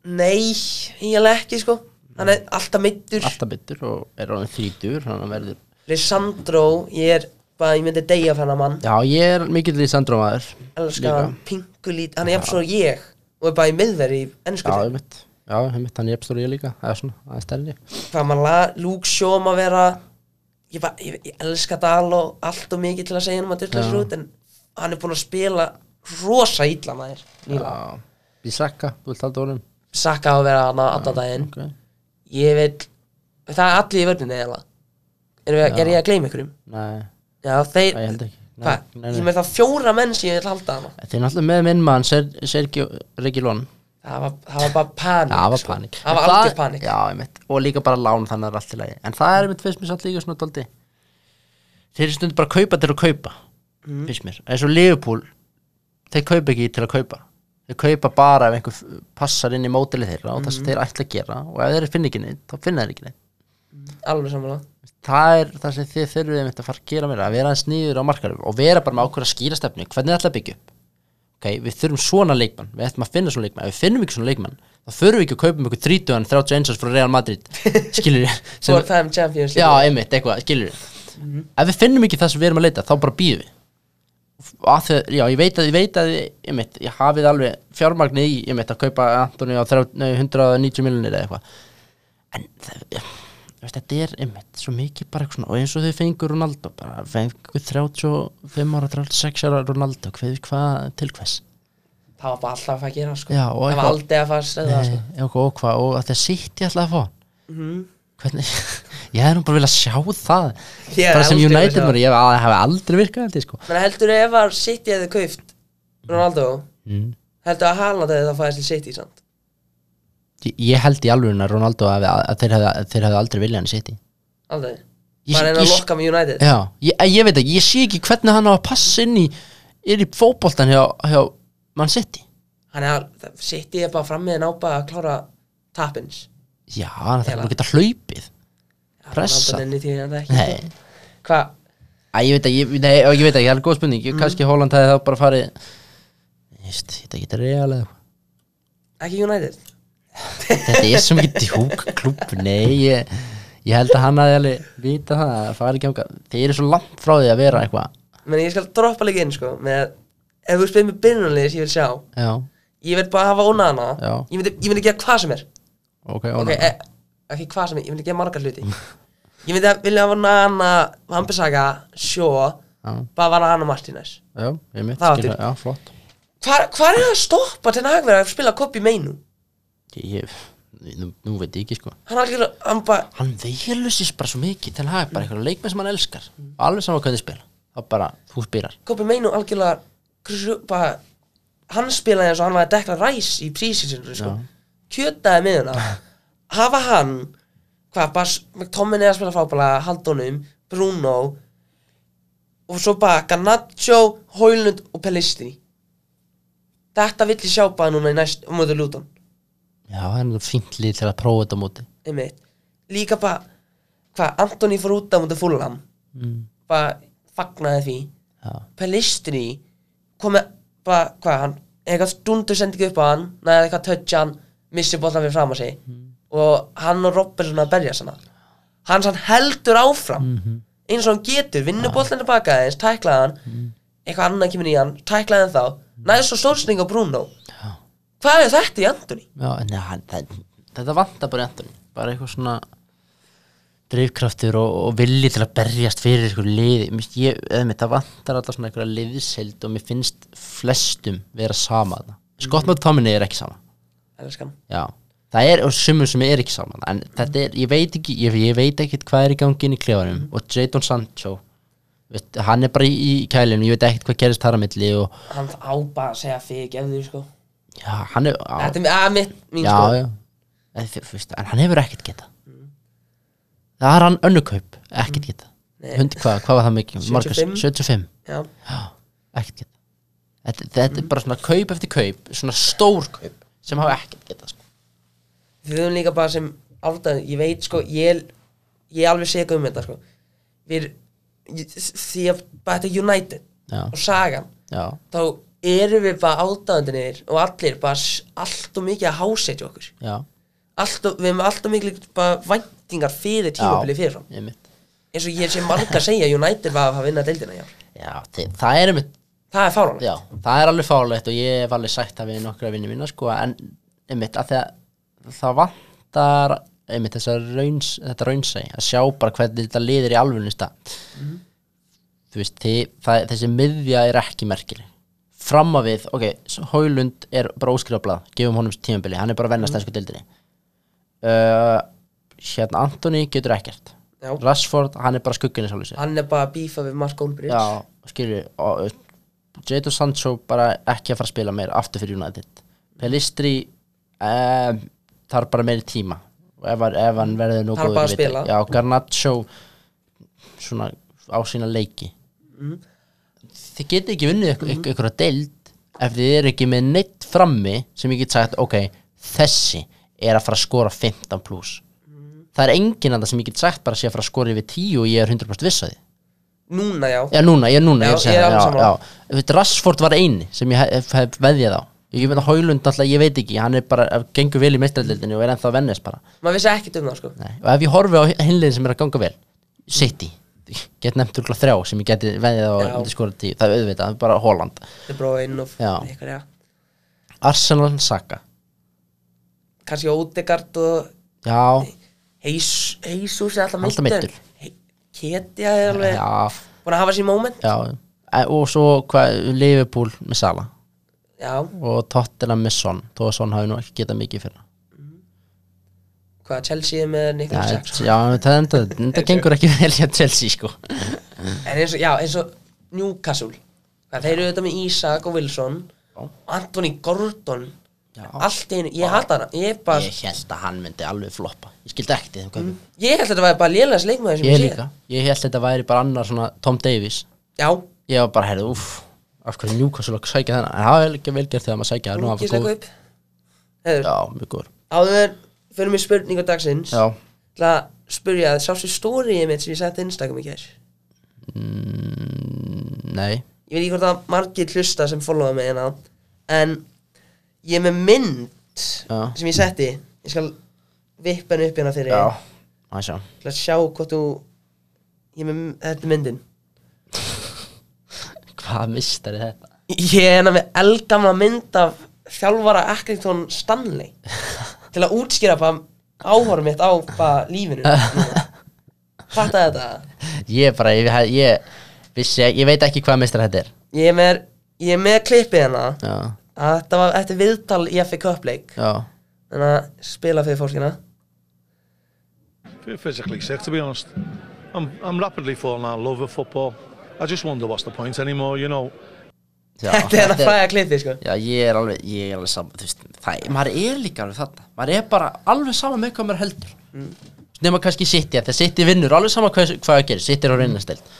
Speaker 5: Nei, eiginlega ekki sko Hann er alltaf meittur
Speaker 6: alltaf byttur og er honum þrítur þannig að verður
Speaker 5: Lissandró, ég er bara, ég myndi deyja fyrir hann mann
Speaker 6: já, ég er mikill Lisandro maður
Speaker 5: Elskar
Speaker 6: líka.
Speaker 5: hann, pingulít, hann er jafn svo ég Og er bara í miðveri í ennsku
Speaker 6: já, ég mitt já, ég mitt, hann er uppstóri ég líka það er svona, það er stærri
Speaker 5: Hvað maður la- Luke Shaw maður vera Ég, bara, ég, ég elska Dal og allt og mikið til að segja hann maður dyrla
Speaker 6: Já.
Speaker 5: sér út En hann er búinn að spila rosa illa maður nýlega.
Speaker 6: Já, Bissaka, þú vilt halda honum
Speaker 5: Saka á að vera hana alltaf daginn
Speaker 6: okay.
Speaker 5: Ég vil Það er allir í vörninni eða er,
Speaker 6: Já.
Speaker 5: er ég að gleyma ykkurum?
Speaker 6: Nei,
Speaker 5: Já, þeir
Speaker 6: það ég held ekki Nei,
Speaker 5: Hvað?
Speaker 6: nei,
Speaker 5: Ég
Speaker 6: nei.
Speaker 5: með það fjóra menn sem ég vil halda hana
Speaker 6: Þeir er náttúrulega með minn mann Ser- Sergio Regilón
Speaker 5: Það var, það var bara panik
Speaker 6: Já, það var
Speaker 5: sko.
Speaker 6: panik
Speaker 5: Það var
Speaker 6: En
Speaker 5: algjör panik
Speaker 6: Já, einmitt Og líka bara lán þannig að það er allt í lagi En það er einmitt fyrst mér satt líka svona daldi Þeir eru stundum bara að kaupa til að kaupa Fyrst mér En svo Liverpool Þeir kaupa ekki til að kaupa Þeir kaupa bara ef einhver f- passar inn í mótilið þeirra Og það sem þeir ætla að gera Og ef þeir finna ekki neitt Þá finna þeir ekki neitt
Speaker 5: Alveg samanlega
Speaker 6: það er það sem þið þurfið einmitt að fara að gera meira að vera aðeins nýður á markarum og vera bara með ákveða skýra stefnu hvernig ætla að byggja upp okay, við þurfum svona leikmann, við ætlum að finna svona leikmann ef við finnum ekki svona leikmann, þá þurfum við ekki að kaupa um ykkur 30 31 árs frá Real Madrid skilur við
Speaker 5: For time champions
Speaker 6: já,
Speaker 5: League.
Speaker 6: einmitt, eitthvað, skilur við ef við finnum ekki það sem við erum að leita, þá bara býðum við Og að þau, já, ég veit að ég veit að þið, einmitt, ég hafið alveg fjármagnið í, einmitt, að kaupa Antoni á 30 nei, 190 miljonir eða eitthvað en það, veist, þetta er einmitt svo mikið bara eitthvað svona og eins og þau fengur Ronaldo bara fengur 35 ára, 36 ára Ronaldo hvað, hvað til hvers
Speaker 5: Það var bara alltaf að fara að gera sko.
Speaker 6: Já, og
Speaker 5: Það var
Speaker 6: eitthvað-
Speaker 5: aldrei að fara að segja
Speaker 6: Nei,
Speaker 5: sko.
Speaker 6: og, og hvað, og þetta sitt ég ætla að fá hann hvernig, (laughs) ég hef nú bara viljað sjá það
Speaker 5: Ég hef
Speaker 6: bara sem
Speaker 5: aldrei viljað
Speaker 6: United
Speaker 5: sjá
Speaker 6: maður, ég hef- hef aldrei virkað held ég sko
Speaker 5: Men heldur ef að City hefði kauft Ronaldo
Speaker 6: Mm.
Speaker 5: Heldur að Haaland hefði það fæðist til City samt
Speaker 6: ég, ég held í alveg að Ronaldo að, að, að þeir hefðu þeir hefðu aldrei viljað hann sitt í
Speaker 5: Aldrei
Speaker 6: Ég-
Speaker 5: Bara einn að
Speaker 6: ég-
Speaker 5: lokka með United
Speaker 6: Já, ég, ég veit ekki, ég sé ekki hvernig hann á að passa inn í, er í fótboltan hjá, hjá mann sitt í
Speaker 5: Hann er að City er bara frammiðin á bara að klára tappins
Speaker 6: Já, hann þarf
Speaker 5: Eða-
Speaker 6: bara að geta hlaupið Pressa.
Speaker 5: Ronaldo nenni því hann ekki
Speaker 6: Nei,
Speaker 5: Hvað?
Speaker 6: Æ, ég veit ekki, ég- nei, ég veit ekki, það er góð spurning mm. Kanski Holland hefði þá bara farið Ég veist, þetta er ekki real eða eitthvað
Speaker 5: Ekki United?
Speaker 6: Þetta er svo mikið djúk klúb Nei, ég, ég held að hann hefði alveg Vita það, að það fari ekki ánga Þeir eru svo langt frá því að vera eitthvað
Speaker 5: Men ég skal droppa líka inn sko með, Ef þú spyrir mig byrjunarliðis ég vil sjá
Speaker 6: Já,
Speaker 5: Ég vil bara hafa ónað hana
Speaker 6: Já.
Speaker 5: Ég myndi, ég myndi gera hvað sem er
Speaker 6: ok, eh,
Speaker 5: Ok,
Speaker 6: óna
Speaker 5: e, ekki hvað sem er, ég myndi gera margar hluti Ég myndi að vilja hafa Nana Vampisaka, Sjó
Speaker 6: Já,
Speaker 5: Bara var Nana Martínez
Speaker 6: já, ég mitt
Speaker 5: Það var
Speaker 6: skilur-
Speaker 5: dýrt.
Speaker 6: Já, flott
Speaker 5: Hvar, hvar er það að stoppa til nagverð að spila kopi meinu?
Speaker 6: Ég, ég nú, nú veit ég ekki sko
Speaker 5: Hann algjör, hann bara
Speaker 6: Hann veilur sér bara svo mikið Til að hafa bara eitthvað leikmenn sem hann elskar Alveg saman hvað þið spila Það bara, þú spilar
Speaker 5: Kopi meinu algjörlega krussu, bara, Hann spilaði eins og hann var að dekla ræs í prísisinu sko. Kjötaði miðuna Hafa hann Hvað, bara Tommin er að spila fábala Haldunum, Bruno Og svo bara Garnaccio, Hoylund og Pellisti Þetta vill ég sjá bara núna í næst um mótu Luton
Speaker 6: Já, það er nú fínt lið til að prófa þetta á móti
Speaker 5: einmitt líka bara hvað Antoni fór út á mútið fúllam
Speaker 6: mm.
Speaker 5: bara fagnaði því
Speaker 6: Já,
Speaker 5: Pelistri kom með bara hvað hann eitthvað stundu sendi ekki upp á hann næði eitthvað tötja hann missi bollan fyrir fram á sig
Speaker 6: Mm.
Speaker 5: og hann og Robertson að berja sann hann sann heldur áfram
Speaker 6: Mhm.
Speaker 5: eins og hann getur vinnur bollan tilbaka aðeins tæklaði hann
Speaker 6: Mm.
Speaker 5: eitthvað annað kemur í hann tæklaði hann þá næði svo stórsning á Bruno
Speaker 6: Já.
Speaker 5: hvað er þetta í Antoni?
Speaker 6: já en hann, það, þetta vantar bara endur bara eitthvað svona drifkraftur og, og vilji til að berjast fyrir eitthvað liði Mér finnst ég, eða mitt, það vantar alltaf svona eitthvað liðsheld og mér finnst flestum vera sama þarna.
Speaker 5: Mhm.
Speaker 6: Scott McTominay er ekki sama
Speaker 5: Elskan
Speaker 6: já, það er og sumum sem er ekki saman en þetta er, ég veit ekki ég, ég veit ekkit hvað er í gangi inn í klefanum
Speaker 5: Mhm.
Speaker 6: og Jadon Sancho veist, hann er bara í, í kælinu, ég veit ekkit hvað gerist þar að milli og
Speaker 5: hann á bara að segja fyrir gefðu sko
Speaker 6: já, hann er á,
Speaker 5: Þetta er mi- að mitt mín
Speaker 6: já,
Speaker 5: sko
Speaker 6: já. En, þú- þú veist, en hann hefur ekkert geta það er hann önnukaup ekkert geta,
Speaker 5: Mm. Nei.
Speaker 6: hundi hvað, hvað var það mikið
Speaker 5: 75?
Speaker 6: 75,
Speaker 5: já.
Speaker 6: já, ekkert geta þetta, þetta er bara svona kaup eftir kaup svona stór kaup sem hafa ekkert geta sko.
Speaker 5: Við höfum líka bara sem áldaði Ég veit sko, ég Ég er alveg seka um þetta sko Við, ég- því að bara þetta er United
Speaker 6: já,
Speaker 5: Og sagan
Speaker 6: já,
Speaker 5: Þá erum við bara áldaðundinir Og allir bara s- allt og mikið að hásetja okkur
Speaker 6: já,
Speaker 5: allt og, Við hefum allt og mikið bara væntingar fyrir tímabilið fyrirfram
Speaker 6: ég mitt
Speaker 5: Eins og ég sé marga að segja að United var að fara að vinna deildina já.
Speaker 6: já, þi- það er einmitt
Speaker 5: Það er fáránlegt
Speaker 6: já, það er alveg fálegt og ég hef alveg sagt það við nokkra vinni mína sko, en einmitt að þegar það vantar einmitt þessa rauns, þetta raunsæ að sjá bara hvernig þetta liðir í alvunni stað þú veist, þið, það, þessi miðja er ekki merkileg fram að við, ok, Hólund er bara óskrifablað, gefum honum tímabili hann er bara að vennast mm. dildinni uh, hérna Antoni getur ekkert
Speaker 5: Já.
Speaker 6: Rashford, hann er bara skugginni sjálf sér
Speaker 5: Hann er bara að bífa við Mark Olbríðs
Speaker 6: já, skilju Jadon Sancho bara ekki að fara að spila meir aftur fyrir United Pelistri um, þarf bara meiri tíma ef, hann- ef hann verður nú
Speaker 5: Þarf
Speaker 6: góður,
Speaker 5: bara að
Speaker 6: ég veit
Speaker 5: spila.
Speaker 6: ekki. já, Garnacho svona á sína leiki
Speaker 5: Mhm.
Speaker 6: þið getið ekki vunnið ykkur, ykkur, ykkur að deild ef þið eru ekki með neitt frammi sem ég get sagt, ok, þessi er að fara að skora 15 plus
Speaker 5: Mhm.
Speaker 6: það er enginn að það sem ég get sagt bara sé að fara að skora yfir 10 og ég er 100% viss að því
Speaker 5: Núna já,
Speaker 6: Já, núna, ég er
Speaker 5: Já,
Speaker 6: núna, ég er að
Speaker 5: ég
Speaker 6: segja
Speaker 5: er alveg
Speaker 6: það, já,
Speaker 5: sammála.
Speaker 6: já. Þú veit, Rashford var eini sem ég hef, hef veðjað á Ég veit að Hólund alltaf, ég veit ekki, hann er bara gengur vel í meistrældildinu og er ennþá að vennast bara
Speaker 5: maður vissi ekkert um það sko
Speaker 6: Nei. Og ef ég horfi á hinlegin sem er að ganga vel City, ég get nefnt úrkla þrjá sem ég geti veðjað á
Speaker 5: Já.
Speaker 6: myndi skora tíu Það er auðvitað, það er bara Holland
Speaker 5: Þetta er bara einn og
Speaker 6: Já.
Speaker 5: eitthvað já
Speaker 6: Arsenal Saka
Speaker 5: Kanski Ódegard og
Speaker 6: Já,
Speaker 5: Heis- Heisús er alltaf
Speaker 6: Alltaf
Speaker 5: meiddur.
Speaker 6: meiddur.
Speaker 5: He- Ketja er alveg
Speaker 6: já,
Speaker 5: Búin að hafa sín moment
Speaker 6: já E- Og svo hvað, Liverpool með Sala
Speaker 5: Já,
Speaker 6: og Tottenham með Son þó að Son hafi nú ekki getað mikið fyrir
Speaker 5: hvað Chelsea er með Niklas
Speaker 6: Já,
Speaker 5: Jackson
Speaker 6: já það enda, enda gengur ekki vel hjá Chelsea sko
Speaker 5: En eins og, já, eins og Newcastle Hvað, Þeir eru þetta með Isaac og Wilson og Anthony Gordon
Speaker 6: Já.
Speaker 5: Allt í einu, ég hata hana Ég, er bara,
Speaker 6: ég held að hann myndi alveg floppa ég skildi ekkert
Speaker 5: Mm.
Speaker 6: í þeim kaupum
Speaker 5: ég held að þetta var bara lélæðis leikmaður sem
Speaker 6: ég
Speaker 5: sé.
Speaker 6: líka, ég held þetta væri bara annar svona Tom Davies,
Speaker 5: Já,
Speaker 6: ég var bara heyrðu, uff, af hverju Newcastle að sækja þennan en það er ekki vel gert þegar maður sækja það nú hann var
Speaker 5: Newcastle
Speaker 6: góð,
Speaker 5: kaup Hefur,
Speaker 6: já, mjög góður
Speaker 5: áður fyrir mér spurningu dagsins
Speaker 6: já,
Speaker 5: til að spurja það, sástu stóriðið mitt sem ég sett Instagram í kær Ég
Speaker 6: nei,
Speaker 5: veit ekki hvort að margir hlusta sem followa mig hérna En ég er með mynd
Speaker 6: Já.
Speaker 5: sem ég setti Ég skal vippa henni upp hérna fyrir
Speaker 6: já það sjá,
Speaker 5: til að sjá hvort þú ég er með þetta er myndin
Speaker 6: hvað mistar er þetta
Speaker 5: ég er hérna með eldgamla mynd af þjálfara Accrington
Speaker 6: (laughs)
Speaker 5: Stanley til að útskýra bara áhorf mitt á bara
Speaker 6: (laughs)
Speaker 5: lífinu fatta þetta
Speaker 6: ég bara, ég, ég, vissi, ég veit ekki hvað mistar þetta er
Speaker 5: ég er með, ég er með klippið hérna
Speaker 6: já,
Speaker 5: að þetta var eftir viðtal í FA Cupleik
Speaker 6: já,
Speaker 5: en að spila fyrir fólkina
Speaker 7: Pretty physically sick, to be honest. I'm, I'm rapidly falling out of love with football. I just wonder what's the point anymore, you know.
Speaker 5: (laughs)
Speaker 6: já
Speaker 5: þetta er hérna fræga klippið sko
Speaker 6: Já, ég er alveg, ég er alveg saman, þú veist, það, maður er líka alveg þarna, maður er bara alveg saman með hvað maður heldur. Mm. Nefna kannski sitt ég, þegar sitt ég vinnur, alveg saman hvað, hvað það gerir, sitt ég á reynasteld.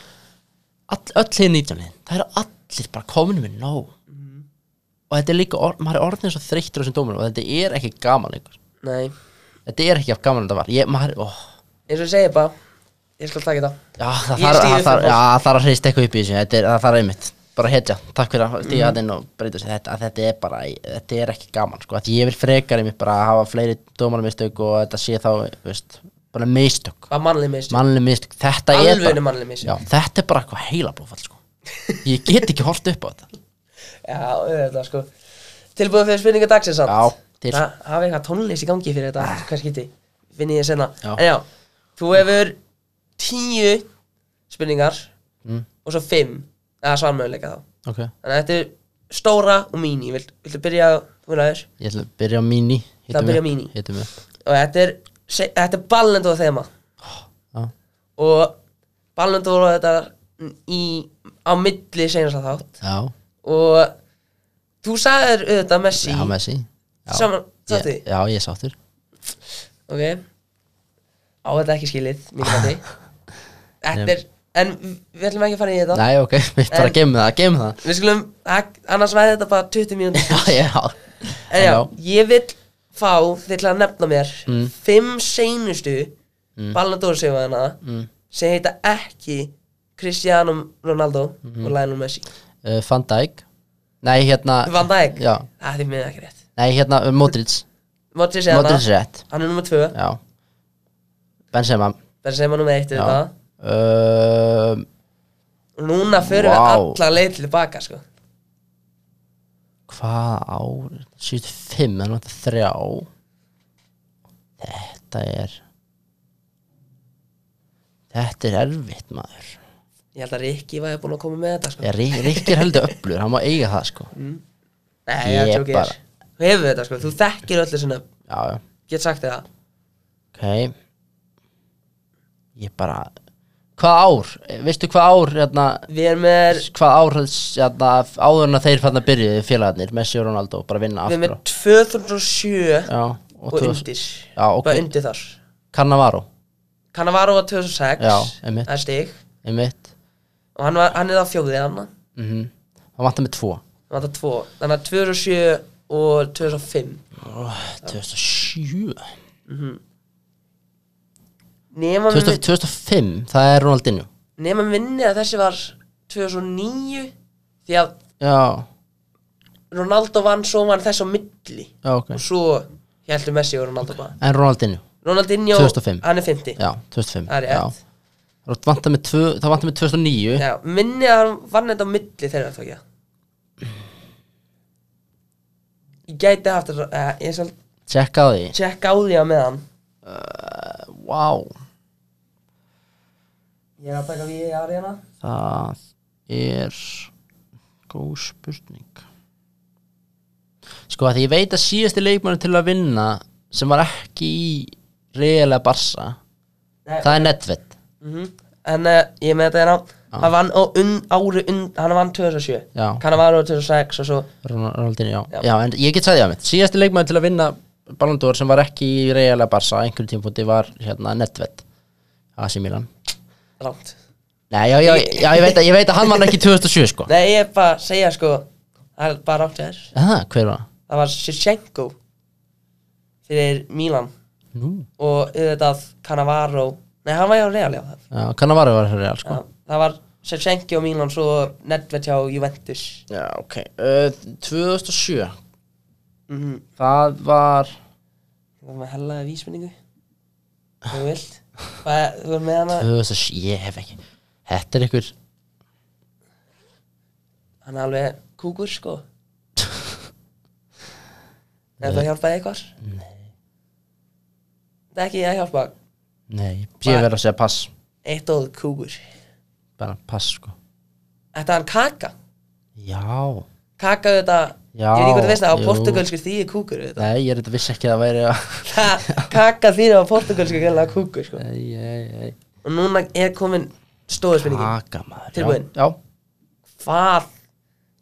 Speaker 6: All, öll hinn 19 liðin, það eru allir bara kominu með nóg. Og þetta er líka, or, maður er orðin svo þreyttur á þessum dóminu og þetta er ekki gaman lengur.
Speaker 5: nei
Speaker 6: Þetta er ekki af gaman en það var, ég, maður, óh.
Speaker 5: eins og ég segi bara ég skal taka þetta
Speaker 6: Já,
Speaker 5: Ég
Speaker 6: það þarf,
Speaker 5: stíg
Speaker 6: það
Speaker 5: upp fyrir
Speaker 6: þarf, já,
Speaker 5: fólk.
Speaker 6: það þarf að hreist eitthvað upp í þessu þetta er, það þarf einmitt, bara hetja takk fyrir að
Speaker 5: Mhm.
Speaker 6: stíga mm. inn og breyta sér þetta, að þetta er bara, þetta er ekki gaman sko. Því ég vil frekar einmitt bara að hafa fleiri dómarmistök og þetta sé þá veist, bara mistök,
Speaker 5: bara mannlið meist
Speaker 6: mannleg mistök þetta er
Speaker 5: alveg
Speaker 6: bara,
Speaker 5: mannlið meist
Speaker 6: já, þetta er bara eitthvað heila blófall sko. ég get ekki hort upp á þetta
Speaker 5: Já, auðvitað sko Tilbúið fyrir spurningu dagsins samt
Speaker 6: Já, til. Ah.
Speaker 5: Það hafi eitthvað tónlist í gangi fyrir þetta Hvað skipti, finn ég senna
Speaker 6: Já.
Speaker 5: En já, þú hefur tíu spurningar
Speaker 6: Mm.
Speaker 5: Og svo fimm Eða svarmöðuleika þá
Speaker 6: ok,
Speaker 5: Þannig að þetta er stóra og míní Vilt, Viltu byrja á þú næður
Speaker 6: ég ætla að byrja á mini
Speaker 5: Það byrja á mini.
Speaker 6: hittum við,
Speaker 5: Og þetta er, se- þetta er ballendóð þema
Speaker 6: já,
Speaker 5: Og ballendóð þetta í, Á milli seinasta þátt
Speaker 6: já,
Speaker 5: Og þú sagðir auðvitað Messi
Speaker 6: já, Messi já.
Speaker 5: Saman, sátti
Speaker 6: Ég- já, ég er sáttur
Speaker 5: Ok Á þetta ekki skilið, mínu
Speaker 6: (laughs)
Speaker 5: mati Þetta er, en við ætlum ekki að fara í þetta
Speaker 6: nei, ok, (laughs) bara
Speaker 5: En-
Speaker 6: gemma það, gemma
Speaker 5: (laughs)
Speaker 6: það
Speaker 5: Við skulum, ak- annars væði þetta bara 20 mínútur
Speaker 6: (laughs) já, já,
Speaker 5: En já,
Speaker 6: já.
Speaker 5: ég vil fá þig til að nefna mér
Speaker 6: Mm.
Speaker 5: Fimm seinustu mm. Balladórsegvæðina mm. sem heita ekki Cristiano Ronaldo
Speaker 6: Mhm.
Speaker 5: og Lionel Messi
Speaker 6: uh, Van Dijk Nei, hérna
Speaker 5: Van Dijk,
Speaker 6: Já.
Speaker 5: að því miður ekki rétt
Speaker 6: Nei, hérna uh, Modric
Speaker 5: Modric er
Speaker 6: Modric
Speaker 5: hana,
Speaker 6: er rétt
Speaker 5: hann er nummer 2
Speaker 6: Já Benzema
Speaker 5: Benzema nummer 1
Speaker 6: Já.
Speaker 5: og
Speaker 6: uh,
Speaker 5: núna förum
Speaker 6: Vá.
Speaker 5: við alla leið til baka sko.
Speaker 6: Hvað ár? 75, þannig að þrjá Þetta er Þetta er erfitt maður
Speaker 5: Ég held að Rikki var búin að koma með þetta sko.
Speaker 6: Ég, Rik- Rikki er heldur öflur, hann má eiga það sko
Speaker 5: Nei, ég
Speaker 6: ég
Speaker 5: tjók ég
Speaker 6: bara-
Speaker 5: Þú hefur þetta sko, þú þekkir öllu sinna
Speaker 6: Já, já,
Speaker 5: Get sagt þér það
Speaker 6: ok Ég bara Hvað ár, veistu hvað ár hérna,
Speaker 5: Við erum með,
Speaker 6: hvað ár hérna, áður en að þeir fann að byrjuði félagarnir Messi og Ronaldo, bara vinna
Speaker 5: við erum
Speaker 6: aftur
Speaker 5: með 2007
Speaker 6: Já, og,
Speaker 5: og
Speaker 6: og
Speaker 5: undir
Speaker 6: Já, ok.
Speaker 5: Bara undir þar
Speaker 6: Cannavaro,
Speaker 5: Cannavaro var 2006
Speaker 6: Já, einmitt.
Speaker 5: Það er stig
Speaker 6: einmitt
Speaker 5: Og hann, var, hann er það fjóðið hann Það
Speaker 6: mm -hmm. Það vantar með tvo
Speaker 5: var það tvo Þannig að 2007 og 2005
Speaker 6: 2007
Speaker 5: Nema með
Speaker 6: 2005, það er Ronaldinho
Speaker 5: nema minni að þessi var 2009 því að
Speaker 6: Já,
Speaker 5: Ronaldo vann svo vann þess á milli
Speaker 6: já ok
Speaker 5: og svo heldur Messi og Ronaldo bara
Speaker 6: En Ronaldinho,
Speaker 5: Ronaldinho,
Speaker 6: 2005.
Speaker 5: hann er 50
Speaker 6: já, 2005
Speaker 5: það er rétt
Speaker 6: já. Það vantar með, tvö, það vantar með 2009
Speaker 5: já. minni að hann vann þetta á milli þegar það ekki ég gæti haft þetta uh, ég skal
Speaker 6: Tjekka á því
Speaker 5: tjekka á því að með hann
Speaker 6: Vá
Speaker 5: ég er að taka við hérna. í aðriðana
Speaker 6: Það er góð spurning Sko að því ég veit að síðasti leikmann til að vinna sem var ekki í reyðilega barsa
Speaker 5: Nei.
Speaker 6: það er Nedved
Speaker 5: en uh, ég er með þetta hérna hann vann á un, ári und, hann vann 2007
Speaker 6: Já.
Speaker 5: hann var á 2006 og svo
Speaker 6: Ronaldinho, já.
Speaker 5: Já.
Speaker 6: já, en ég get sagði að mitt síðasti leikmann til að vinna Ballon d'Or sem var ekki í reyðilega barsa einhverjum tímpúti var hérna Nedved AC Milan
Speaker 5: rámt
Speaker 6: Nei, já, já, já, ég veit að, ég veit að hann var ekki 2007 sko
Speaker 5: Nei, ég er bara að segja sko Það er bara rátt þér
Speaker 6: Aha, hver var það?
Speaker 5: Það var Shevchenko Fyrir Milan
Speaker 6: Nú,
Speaker 5: Og auðvitað Cannavaro Nei, hann var hjá Real já það,
Speaker 6: já, Cannavaro var hér real sko
Speaker 5: já, það var Shevchenko og Milan Svo Nedved hjá Juventus
Speaker 6: Já, ok uh, 2007 Það var
Speaker 5: Það var með hellaði vísminningu Þú vilt Hvað- Þú er með hana
Speaker 6: 2007, ég hef ekki Þetta er ykkur
Speaker 5: Hann er alveg kúkur
Speaker 6: (laughs)
Speaker 5: sko Er það hjálpaði eitthvað? Nei Það er ekki að hjálpa
Speaker 6: Nei, ég verður að segja pass
Speaker 5: Eitt óð kúkur
Speaker 6: Bara pass sko
Speaker 5: Þetta er hann kaka
Speaker 6: Já
Speaker 5: kaka auðvitað
Speaker 6: Já,
Speaker 5: ég veit ekki hvað þú veist það á
Speaker 6: jú.
Speaker 5: portugalsku þýði kúkur auðvitað. (laughs)
Speaker 6: Nei, ég er þetta vissi ekki að það væri að
Speaker 5: Ha, kaka þýði á portugalsku kalla kúkur sko.
Speaker 6: (laughs) Nei, nei, nei
Speaker 5: og núna er komin stóðspenningin
Speaker 6: Taka maður
Speaker 5: Tilbúin.
Speaker 6: Já,
Speaker 5: hvað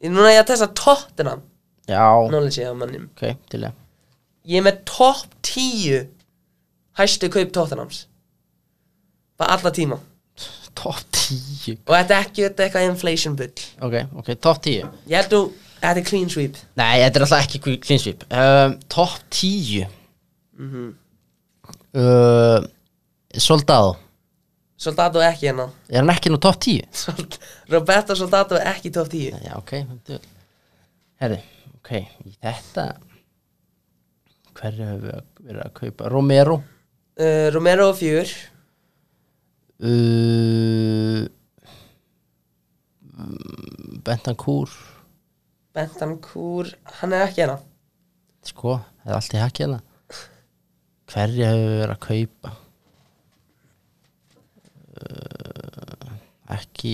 Speaker 5: Ég- núna er ég að testa tottenham
Speaker 6: já, já.
Speaker 5: knowledge ég á mannum
Speaker 6: ok, til ég
Speaker 5: ég er með topp 10 hæstu kaup tottenhams bara alla tíma
Speaker 6: Top 10
Speaker 5: og þetta er ekki þetta er eitthvað inflation bull
Speaker 6: Ok, ok, top 10
Speaker 5: ég held þú þetta er clean sweep
Speaker 6: Nei, þetta er alltaf ekki clean- clean sweep um, Top 10 uh, Soldado
Speaker 5: Soldado ekki hérna (laughs)
Speaker 6: Er hann ekki nú top 10?
Speaker 5: Sold- Roberto Soldado er ekki topp 10
Speaker 6: Já, ok Herri, ok í Þetta Hverju hefur við verið að kaupa? Romero
Speaker 5: uh, Romero 4
Speaker 6: uh, Bentancur
Speaker 5: Bentancur hann er ekki hérna
Speaker 6: Sko, það er allt í hakið hana Hverju hefur við verið að kaupa? Uh, ekki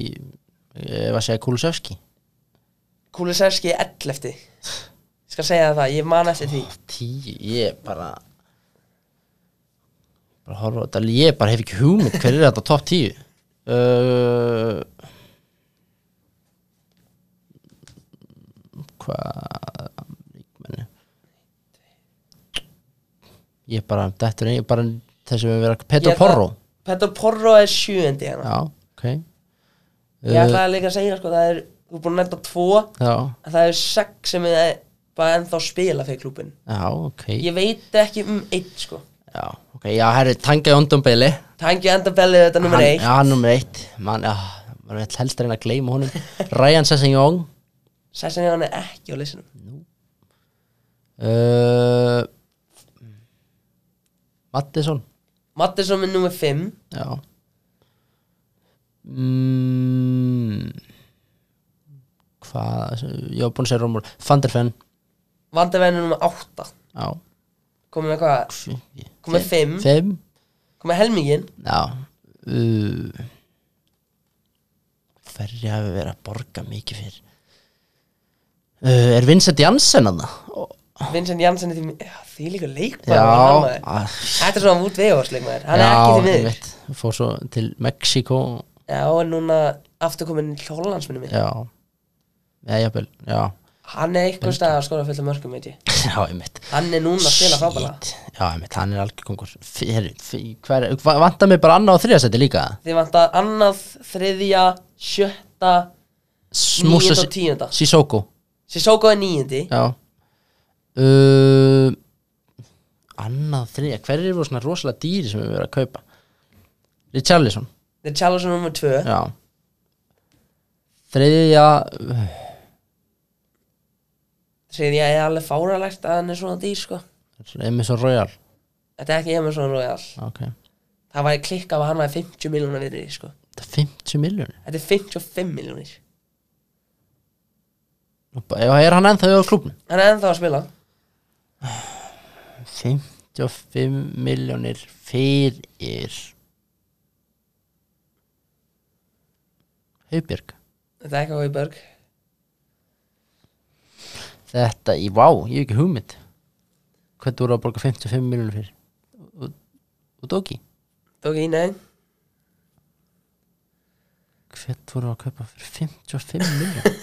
Speaker 6: Ég var að segja Kulusevski
Speaker 5: Kulisevski er 11 Ég skal segja þér það, ég man eftir því
Speaker 6: tíu, ég bara bara horfa á þetta ég bara hef ekki hugmynd, hver er þetta top tíu uh, hvað menni ég bara, þetta er bara þessi við vera Pedro
Speaker 5: Ég ætla-
Speaker 6: Porro
Speaker 5: Pedro Porro er 7 hérna
Speaker 6: já, ok
Speaker 5: Ég
Speaker 6: Uh.
Speaker 5: ætlaði líka að segja sko, það er Þú er búin að nefna 2
Speaker 6: já,
Speaker 5: en það er 6 sem er bara ennþá að spila fyrir klúbin
Speaker 6: já, ok
Speaker 5: Ég veit ekki um 1 sko
Speaker 6: já, ok, já, herri, tangaði ondumbeli
Speaker 5: Tangi Andabelli þetta nummer 1
Speaker 6: Já, hann nummer eitt Man, já, man vil helst reyna að gleyma honum
Speaker 5: (laughs)
Speaker 6: Ryan Sessegnon
Speaker 5: Sessin hann er ekki á listanum
Speaker 6: uh, Mattisson
Speaker 5: Mattisson er nummer 5
Speaker 6: Já mm, Hvað Ég var búinn að segja Rómur Fanderfen
Speaker 5: Vandavenn er nummer 8
Speaker 6: Já
Speaker 5: Komum með hvað? Komum með 5
Speaker 6: Fimm
Speaker 5: Komum með helmingin
Speaker 6: Já uh, hverju hafi verið að borga mikið fyrir uh, er Vincent Janssen hann það?
Speaker 5: Vincent Janssen er því, mi- já, því líka leikmann var hann,
Speaker 6: já
Speaker 5: maður.
Speaker 6: að-
Speaker 5: Þetta er svona Wood Weghorst leikmaður Hann
Speaker 6: já,
Speaker 5: er ekki því
Speaker 6: ég
Speaker 5: miður
Speaker 6: veit, fór svo til Mexiko
Speaker 5: Já, en núna aftur komin í Hollandsminni minn
Speaker 6: já já, jafnvel, já (laughs)
Speaker 5: Hann er eitthvað stað að skora fullt af mörgum, veit ég
Speaker 6: já, ég mitt
Speaker 5: Hann er núna að spila fábala
Speaker 6: já, ég mitt, hann er algjör kongur Fyrir- fyrir- hver- va- vantar mig bara annað á þriðasætti líka
Speaker 5: Þið vantar annað, þriðja, sjötta,
Speaker 6: smúsa
Speaker 5: níunda og tíunda
Speaker 6: Sissoko
Speaker 5: Sissoko er níundi
Speaker 6: Já uh, Annað þriðja Hverjir voru svona rosalega dýri sem við verðum að kaupa Richarlison
Speaker 5: Þeir tjála sem nummer tvö
Speaker 6: Já Þriðja uh,
Speaker 5: Þriðja er alveg fáralegt að hann er svona dýr, sko
Speaker 6: Emerson Royal
Speaker 5: Þetta er ekki Emerson Royal
Speaker 6: Ok
Speaker 5: Það var klikkað að hann var 50 miljónar virði sko.
Speaker 6: Þetta er 50 miljón
Speaker 5: Þetta er 55 miljónir
Speaker 6: Er hann ennþá í klubnum?
Speaker 5: Hann er ennþá að spila
Speaker 6: 55 miljónir fyrir Haubjörg
Speaker 5: Þetta er ekki á Hauberg
Speaker 6: Þetta í, vá, ég hef ekki hugmynd Hvernig voru að borga 55 miljonir fyrir Og- Og Dóki
Speaker 5: Tók í neðin
Speaker 6: Hvernig voru að kaupa fyrir 55 (laughs) miljonir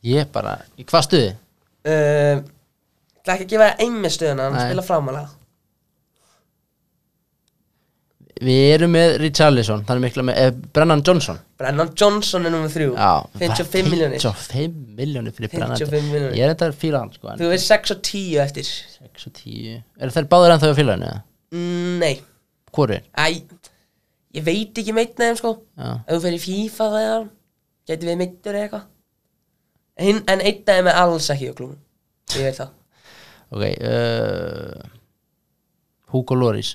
Speaker 6: Ég bara Í hvað stuði?
Speaker 5: Það er Uh, ekki að gefa einmi stöðuna Hann
Speaker 6: Nei.
Speaker 5: spila framalega
Speaker 6: Við erum með Richarlison Það er mikla með eh, Brennan Johnson
Speaker 5: Brennan Johnson er nummer þrjú
Speaker 6: Já,
Speaker 5: 55 miljónir
Speaker 6: 55 miljonir fyrir Brennan
Speaker 5: 55 milljónir.
Speaker 6: Ég er þetta að fíla hann sko en
Speaker 5: Þú veist 6 og 10 eftir
Speaker 6: 6 og 10 Er þær báður ennþá í félaginu? eða?
Speaker 5: Mm, Nei
Speaker 6: Hvor er?
Speaker 5: Æ Ég veit ekki meitt neðum sko
Speaker 6: Já,
Speaker 5: Ef þú fer í FIFA það er Gæti við meittur eða eitthvað Hinn- En einn dæmi er alls ekki á klúm Ég veit það
Speaker 6: ok uh, Hugo Loris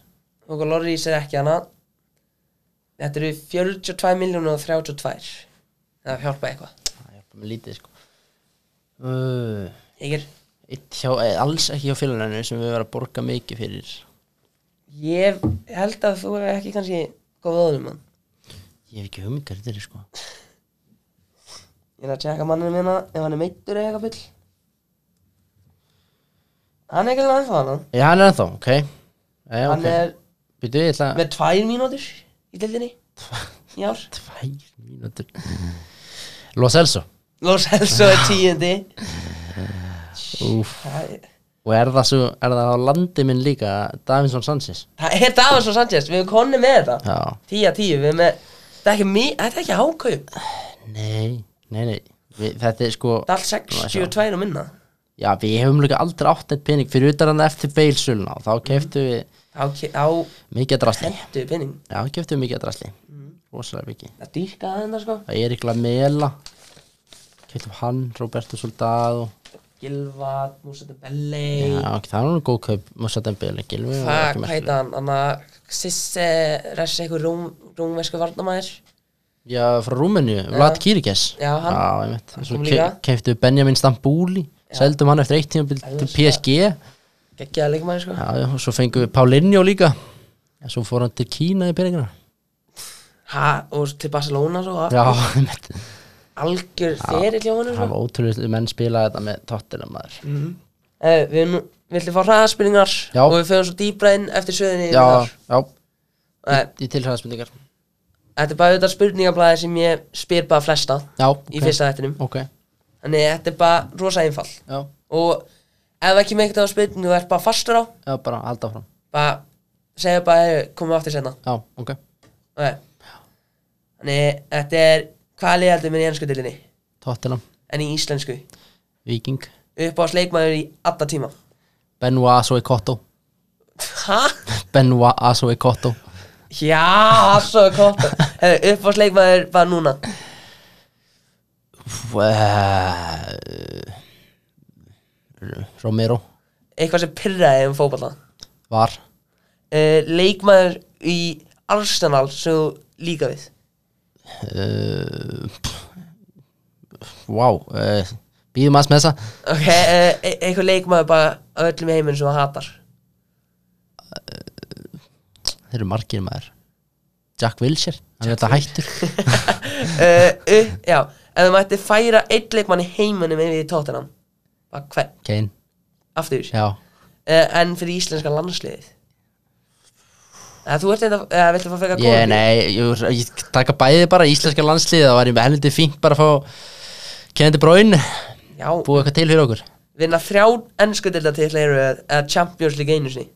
Speaker 5: Hugo Loris er ekki hana Þetta eru 42 miljónur og 32 Það hjálpa eitthvað
Speaker 6: Það hjálpa mér lítið sko uh,
Speaker 5: Ég er,
Speaker 6: eitt hjá, eh, Alls ekki hjá félaginu sem við verðum að borga mikið fyrir
Speaker 5: ég held að þú er ekki kannski góð öðrum mann
Speaker 6: Ég hef ekki hugmynd hvað þetta er sko
Speaker 5: Ég er að tjekka manninu minna ef hann er meittur eða eitthvað bull Hann er ekki alveg ennþá hann
Speaker 6: Já, hann er ennþá, ok Já,
Speaker 5: Hann
Speaker 6: ok
Speaker 5: er
Speaker 6: Býtu, ég ætla að
Speaker 5: með tvær mínútur í dildinni í ár
Speaker 6: Tvær mínútur Los Elso
Speaker 5: Los Elso er tíundi
Speaker 6: Úf
Speaker 5: Það er-
Speaker 6: Og er það svo, er það á landi minn líka Davinson Sanchez
Speaker 5: það er Davos og Sanchez, við erum konni með þetta
Speaker 6: Já
Speaker 5: 10 að 10, við erum með Þetta er ekki, mi- þetta er ekki hákaup
Speaker 6: Nei, nei, nei við, Þetta er sko
Speaker 5: Það er allt 62 og minna
Speaker 6: Já, við hefum líka aldrei átt eitt pening Fyrir utan hann eftir beilsöluna Og þá keftu við
Speaker 5: á, ke- á
Speaker 6: mikið drasli
Speaker 5: hendu pinning
Speaker 6: Já, keftu við mikið drasli
Speaker 5: Mm.
Speaker 6: Rosalega mikið
Speaker 5: að dýrka það þetta sko
Speaker 6: Það er ykkur að mela Keftum hann, Roberto Soldado
Speaker 5: Gilva, Músandi Belli
Speaker 6: Já, ok, það er nú góð kaup Mossadem Bele, Gilvi
Speaker 5: Mm. hvað hva heita hann hann að Sisse Ressi eitthvað rúm, rúmversku varnamæður
Speaker 6: Já, frá Rúmenu, Vlad Kirikes
Speaker 5: Já, hann.
Speaker 6: Já, einmitt Svo
Speaker 5: kom
Speaker 6: ke
Speaker 5: líka.
Speaker 6: keftum við Benjamin Stambúli Seldum hann eftir eitt tíma til PSG Já,
Speaker 5: geggjaða leikmæður sko
Speaker 6: já, og svo fengum við Paulinho líka En Svo fór hann til Kína í peningana
Speaker 5: ha, og til Barcelona svo
Speaker 6: Já, einmitt
Speaker 5: algjör fyrir hljómanum
Speaker 6: Það
Speaker 5: sko
Speaker 6: var ótrúlega menn spilaði þetta með tóttina maður
Speaker 5: Eh, við nú- viltu fá hraðaspilningar
Speaker 6: Já.
Speaker 5: og við förum svo dýbra inn eftir söðinni
Speaker 6: Já, já,
Speaker 5: Eh,
Speaker 6: í tilhæðaspendingar
Speaker 5: þetta er bara auðvitað spurningablaði sem ég spyr bara flesta
Speaker 6: Já, ok
Speaker 5: í fyrsta þættinum
Speaker 6: Ok,
Speaker 5: þannig þetta er bara rosa einfall
Speaker 6: já,
Speaker 5: og ef ekki með eitthvað spurning þú ert bara fastur á
Speaker 6: já, bara halda áfram
Speaker 5: bara segja bara "Heyrðu, komum við aftur senna
Speaker 6: Já, ok
Speaker 5: þannig þetta er hvað lið heldur minn í ennsku delinni
Speaker 6: Tóttina,
Speaker 5: en í íslensku
Speaker 6: Viking
Speaker 5: upp á sleikmaður í alla tíma
Speaker 6: Benoit Asoi Kotto
Speaker 5: ha?
Speaker 6: Benoit Asoi Kotto
Speaker 5: já, svo kóta upp á sleikmaður bara núna
Speaker 6: eh, Romero
Speaker 5: eitthvað sem pyrraði um fótballa
Speaker 6: Var
Speaker 5: uh, leikmaður í Arsenal sem þú líka við
Speaker 6: uh, Wow uh, Býðum aðs með þessa
Speaker 5: ok, uh, eitthvað leikmaður bara af öllum í heiminn sem það hatar
Speaker 6: Þeir eru margir maður Jack Wilshere, hann er þetta hættur
Speaker 5: uh, uh, Já, ef þú mætti færa einn leikmann í heiminum yfir í Tottenham Bara hvern,
Speaker 6: Kane,
Speaker 5: aftur uh,
Speaker 6: já
Speaker 5: En fyrir íslenska landsliðið Eða þú ert eitthvað, eða viltu fá frekar
Speaker 6: Ég,
Speaker 5: Kólumbíu?
Speaker 6: nei, ég, ég taka bæði bara íslenska landslið það var ég með helviti fínt bara að fá Kennedy Bráin,
Speaker 5: Já,
Speaker 6: búið eitthvað til fyrir okkur
Speaker 5: vinna þrjá ennsku delta til eða Champions League einu sinni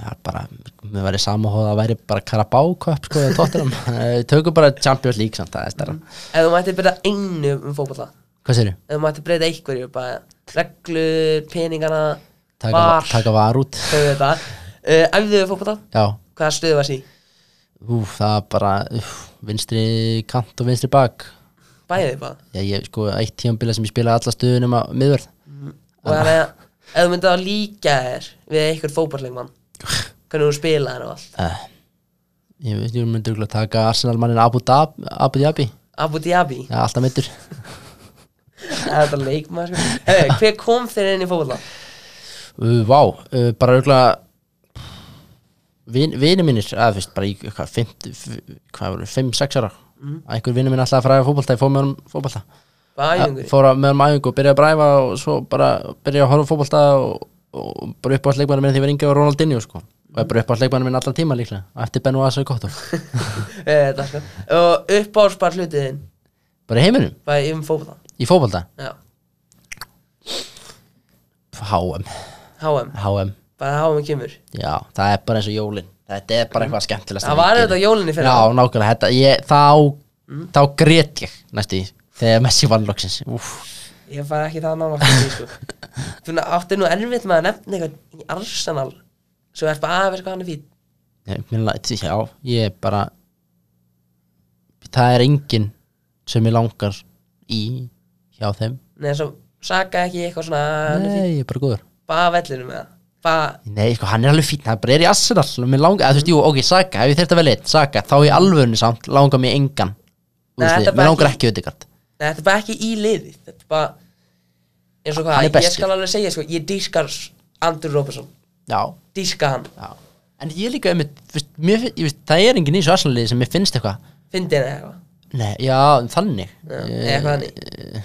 Speaker 6: Já, bara, mér væri samahóð að væri bara Carabao Cup, sko, eða (laughs) Tottenham Eh, Tökum bara Champions League samt, það er stærra
Speaker 5: Ef þú mætti breyta einu um fótballa
Speaker 6: Hvað segirðu?
Speaker 5: Ef þú mætti breyta einhverju, bara reglur, peningana,
Speaker 6: Taka,
Speaker 5: var,
Speaker 6: taka var út
Speaker 5: þau veit það uh, Æfðu þau fótballa,
Speaker 6: Já,
Speaker 5: hvaða stöðu var því?
Speaker 6: ú, það er bara úf, vinstri kant og vinstri bak
Speaker 5: Bæði bara
Speaker 6: Já, ég, sko, eitt tíambila sem ég spilaði alla stöðu nema miðvörð
Speaker 5: Og þannig að ef þú myndið að líka þér við einhvern fótballleikmann hvernig þú spila þér og allt
Speaker 6: uh, Ég veit, ég myndi örugglega taka Arsenal mannin Abu Dhab- Abu Dhabi
Speaker 5: Abu Dhabi,
Speaker 6: Já, alltaf meittur
Speaker 5: það er þetta leikmann sko. hey, Hver kom þér inn í fótballa?
Speaker 6: Uh, vá, uh, bara örgulega vin, Vinir mínir eða fyrst bara í hvað, 50, f- hvað voru, 5-6 ára
Speaker 5: Mhm.
Speaker 6: einhver vinur minn alltaf að fræða fótbolta, ég fór með honum fótbolta
Speaker 5: Bara
Speaker 6: Að-
Speaker 5: æfingur
Speaker 6: fór að- með honum æfingu og byrjaði að bræfa og svo bara byrjaði að horfa á fótbolta og, og bara upp á leikmæri minn því var yngjöf og Ronaldinho sko og ég bara upp á leikmæri minn allan tíma líklega á eftir Benu Asa og Kotto
Speaker 5: Eh, þetta, sko. Og uppáhalsbar hlutiðin
Speaker 6: bara í heiminum,
Speaker 5: bara um fótballa
Speaker 6: í fótbolta
Speaker 5: Já,
Speaker 6: HM,
Speaker 5: HM,
Speaker 6: HM,
Speaker 5: bara HM kemur
Speaker 6: já, það er bara eins og jólin þetta er bara eitthvað skemmtilegast
Speaker 5: Það var þetta á jólinni fyrir
Speaker 6: Já, nákvæmlega, þetta, ég, þá þá grét ég næstu í þegar Messi vann loksins Úf,
Speaker 5: Ég fæði ekki það nála fyrir
Speaker 6: (laughs)
Speaker 5: sko. Þú átti nú erfitt með að nefna eitthvað í Arsenal Svo er bara aðeins hvað hann er fín
Speaker 6: ég, minna, já, ég bara það er enginn sem ég langar í hjá þeim
Speaker 5: Nei, svo saka ekki eitthvað svona "Ah, hann er fínn.
Speaker 6: Nei, ég er bara góður
Speaker 5: Bara á vellinum með það Bara
Speaker 6: Nei, sko, hann er alveg fín, hann bara er í Arsenal Mér langar, eða, þú veist, jú, ok, Saka, ef ég þurft að velja eitt Saka, þá í alvörunni samt langar mér engan
Speaker 5: Nei,
Speaker 6: Nei,
Speaker 5: þetta er
Speaker 6: Mér
Speaker 5: bara
Speaker 6: langar
Speaker 5: ekki-
Speaker 6: ekki auðvitað
Speaker 5: Nei, þetta er bara ekki í liði Þetta er bara eins og
Speaker 6: Hann er
Speaker 5: hvað, ég
Speaker 6: bestur.
Speaker 5: skal alveg segja sko, ég dýskar Andrew Robertson
Speaker 6: Já,
Speaker 5: dýska hann,
Speaker 6: já En ég líka, einmitt, þú veist, mér, fin- ég veist, það er enginn í þessu Arsenal-liði sem mér finnst eitthvað
Speaker 5: fyndi henni eitthvað
Speaker 6: Nei, já, þannig
Speaker 5: Já,
Speaker 6: Ég-
Speaker 5: eitthvað hann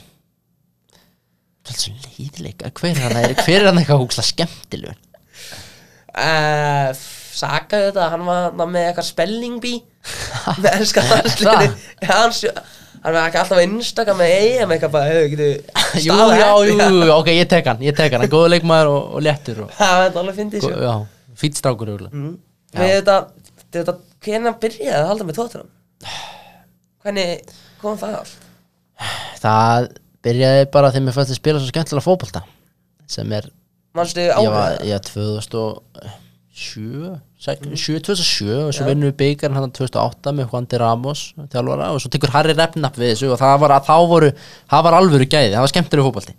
Speaker 6: Það er svo leiðileika Hver er hann, hver er hann eitthvað húksla skemmtilegur
Speaker 5: uh, Saka þetta, hann var þarna með eitthvað spelling
Speaker 6: (laughs)
Speaker 5: bee með ennska landsliði
Speaker 6: Það?
Speaker 5: Já, hann sjö- hann var ekki alltaf einnstaka með EM eitthvað bara, hefur getur
Speaker 6: (laughs) Jú, já, jú, jú, ok, ég tek hann Ég tek hann, hann er góður leikmaður og, og léttur og,
Speaker 5: (laughs) það var þetta alveg fyndið sko
Speaker 6: Já, fýtt strákur mm.
Speaker 5: við þetta, þetta, hvernig byrjaði að halda með tóttunum hvernig kom það allt
Speaker 6: Það byrjaði bara þegar mér fannst að spila svo skemmtilega fótbolta sem er,
Speaker 5: mannstu
Speaker 6: ég var,
Speaker 5: áhuga
Speaker 6: ég var 2007 6, 7, 2007 og svo vinnum við byggarinn hann 2008 með Juan de Ramos þjálfara og svo tekur Harry Repnap við þessu og það var, þá voru, það var alvöru gæði það var skemmtileg fótbolti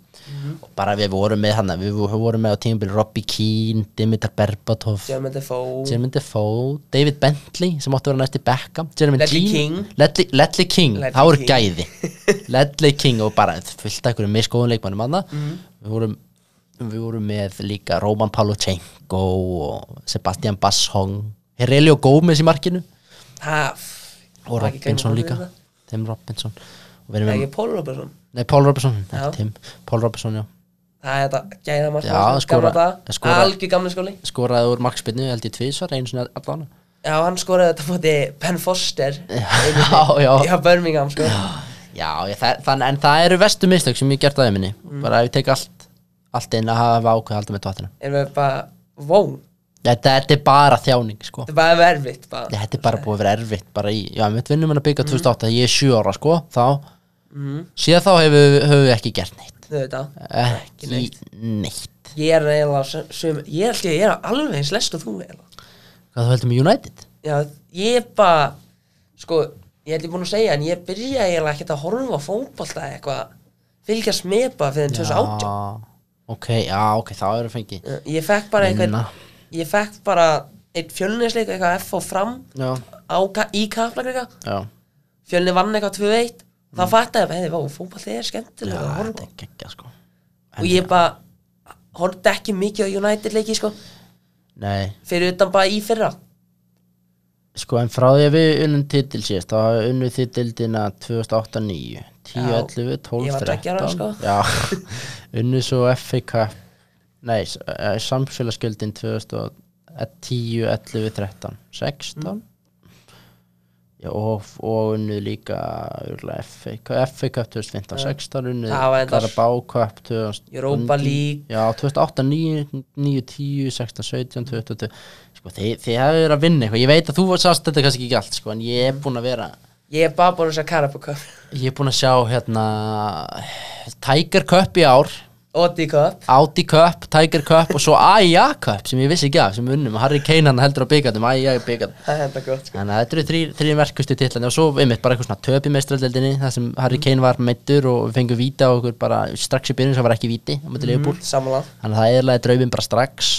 Speaker 6: og bara við vorum með hann við vorum með á tímabili Robbie Keane, Dimitar Berbatov
Speaker 5: Jeremy Defoe
Speaker 6: Jeremy Defoe, David Bentley sem átti að vera næst í Beckham Jeremy
Speaker 5: Ledley
Speaker 6: Dean,
Speaker 5: King.
Speaker 6: Ledley, Ledley King,
Speaker 5: Ledley
Speaker 6: það voru
Speaker 5: King. (laughs)
Speaker 6: gæði Ledley King og bara fullt af einhverjum miskóðum leikmannum anna
Speaker 5: Mhm.
Speaker 6: við, vorum, við vorum með líka Roman Palutjenko og Sebastian Basshong Herelio Gómez í markinu
Speaker 5: það
Speaker 6: og
Speaker 5: var ekki
Speaker 6: Robinson
Speaker 5: gaman að
Speaker 6: líka
Speaker 5: horfa í
Speaker 6: Tim Robinson og
Speaker 5: það
Speaker 6: við erum
Speaker 5: er
Speaker 6: með,
Speaker 5: ekki Paul Robertson
Speaker 6: nei Paul Robinson ekki
Speaker 5: Já.
Speaker 6: Tim, Paul Robinson já
Speaker 5: það er þetta gæða margt
Speaker 6: Já, skora- skora-
Speaker 5: algjör gamla skóli
Speaker 6: skoraði úr markspinnu held ég tvisvar einu sinni allan
Speaker 5: já, hann skoraði þetta móti Ben Foster
Speaker 6: (laughs) já, já.
Speaker 5: já, Birmingham sko
Speaker 6: Já, ég, það, þann, en það eru vestu mistök sem ég gert aðeins minni
Speaker 5: Mm.
Speaker 6: bara ef ég tek allt, allt inn að hafa ákveð að halda með tóttina
Speaker 5: erum við bara, wow
Speaker 6: þetta, þetta er bara þjáning sko.
Speaker 5: þetta er bara verfitt
Speaker 6: Nei, þetta er bara búið að vera erfitt bara í, já, við vinnum hann að
Speaker 5: Mm.
Speaker 6: byggja 2008 ég er 7 ára, sko, þá síðan þá hefur hefur við ekki gert neitt
Speaker 5: þú veit það
Speaker 6: ekki
Speaker 5: neitt.
Speaker 6: neitt, neitt.
Speaker 5: ég er eiginlega sem- sem, ég held ég að ég er alveg eins lest og þú eiginlega
Speaker 6: hvað þú heldur með United?
Speaker 5: já, ég er bara sko, ég held ég búin að segja en ég byrja eiginlega ekkert að horfa á fótbolta eða eitthvað, fylgjast með bara fyrir en 2018
Speaker 6: Já, ok, já, ok, þá eru fengi
Speaker 5: Uh, ég fekk bara
Speaker 6: Minna.
Speaker 5: eitthvað ég fekk bara eitt fjölnisleik eitthvað F og fram
Speaker 6: já,
Speaker 5: á, Ka- í kaflakrika
Speaker 6: já,
Speaker 5: fjölni vann eitthvað 2-1 þá fatt ég að heiði, vá, fótballi er
Speaker 6: Mm. já
Speaker 5: skemmtilega að
Speaker 6: þetta
Speaker 5: horfa á."
Speaker 6: er geggja, sko
Speaker 5: og ég bara horfði ekki mikið á United leiki sko,
Speaker 6: nei,
Speaker 5: fyrir utan bara í fyrra
Speaker 6: Sko en frá því að við unnum titil síðast þá hafa við unnið titildina 2008-9 10,
Speaker 5: Já,
Speaker 6: 11, 12,
Speaker 5: ég var
Speaker 6: 13
Speaker 5: tveggja ára, sko.
Speaker 6: Já, (laughs) unnið svo FA Cup Nei, s- eh, samfélagsgjöldin 2010, 11, 13 16
Speaker 5: Mm.
Speaker 6: Já, og, og unnið líka örugglega FA Cup FA Cup 2015, 16 unnið
Speaker 5: Það var þetta-
Speaker 6: Carabao Cup 2000
Speaker 5: Europa League.
Speaker 6: Já, 2008, 9, 9 10, 16, 17, 20 sko, þið, þið hefur verið að vinna eitthvað ég veit að þú sást þetta kannski ekki allt sko, en ég
Speaker 5: Mm.
Speaker 6: er búin að vera
Speaker 5: Ég er bara búin að segja (laughs) Karabakar
Speaker 6: ég er búin að sjá hérna Tiger Cup í ár
Speaker 5: Odi Cup
Speaker 6: Audi Cup, Tiger Cup og svo Aja Cup sem ég vissi ekki af, sem við unnum Harry Kane hann heldur á byggandum, Aja byggat
Speaker 5: Það er enda gott sko
Speaker 6: þannig að þetta eru þrýr þrý merkustu titlandi og svo einmitt bara eitthvað svona töp í meistraldeldinni þar sem
Speaker 5: Mm.
Speaker 6: Harry Kane var meittur og við fengum víta og okkur bara strax í byrjun sem var ekki víti á
Speaker 5: Mm.
Speaker 6: myndi Leopold
Speaker 5: Samanlagt
Speaker 6: þannig að það eðlaði drauminn bara strax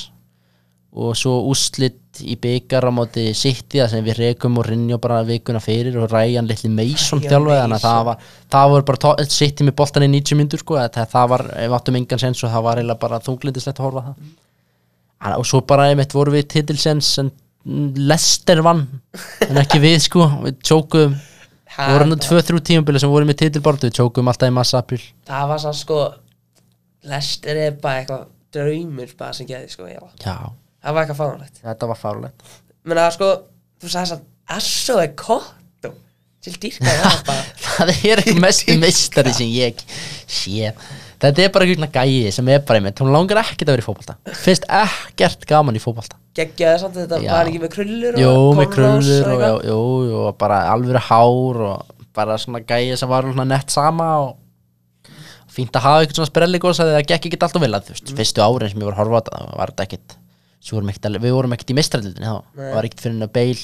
Speaker 6: og svo úslit í byggar á móti City það sem við rekum og rinjó bara vikuna fyrir og Ryan litli Mason
Speaker 5: Ryan
Speaker 6: þjálfaði þannig að
Speaker 5: Mason.
Speaker 6: það var það var bara tó- City með boltan í 90 myndur sko, það, það var, ef áttum engan sens og það var eiginlega bara þunglindislegt að horfa á það Þannig, að- og svo bara einmitt voru við titilsens en Lester vann en ekki við sko, við tjókuðum
Speaker 5: Ha,
Speaker 6: við vorum nú
Speaker 5: bara-
Speaker 6: 2-3 tímabili sem voru með titilbortu við tjókuðum alltaf í massa apil
Speaker 5: Það var sann sko Lester er bara eitthvað draumur bara sem geði sko já.
Speaker 6: já,
Speaker 5: Það var eitthvað fánulegt
Speaker 6: þetta var fárlegt
Speaker 5: Menna sko Þú sagði sann Asso er kottum Til dýrka það bara
Speaker 6: (laughs) það er ekki
Speaker 5: (laughs)
Speaker 6: mestu meistari sem ég sé þetta er bara einhvern gæi sem er bara einmitt hún langar ekkert að vera í fótbolta finnst ekkert gaman í fótbolta
Speaker 5: Geggjaði samt þetta
Speaker 6: Já.
Speaker 5: Var hann ekki með krullur og
Speaker 6: jú, með
Speaker 5: kolrós
Speaker 6: krullur og,
Speaker 5: eitthvað?
Speaker 6: og, jú, jú, og bara alvöru hár og bara svona gæi sem var svona nett sama og fínt að hafa eitthvað svona sprelligós að það gekk ekkert alltaf vel að þú
Speaker 5: Mm.
Speaker 6: veist, fyrstu árin sem ég var að horfa á þetta þá var þetta ekkert, svo vorum ekkert alveg- við vorum ekkert í meistrældinni þá,
Speaker 5: Nei.
Speaker 6: það var ekkert fyrir en að Bale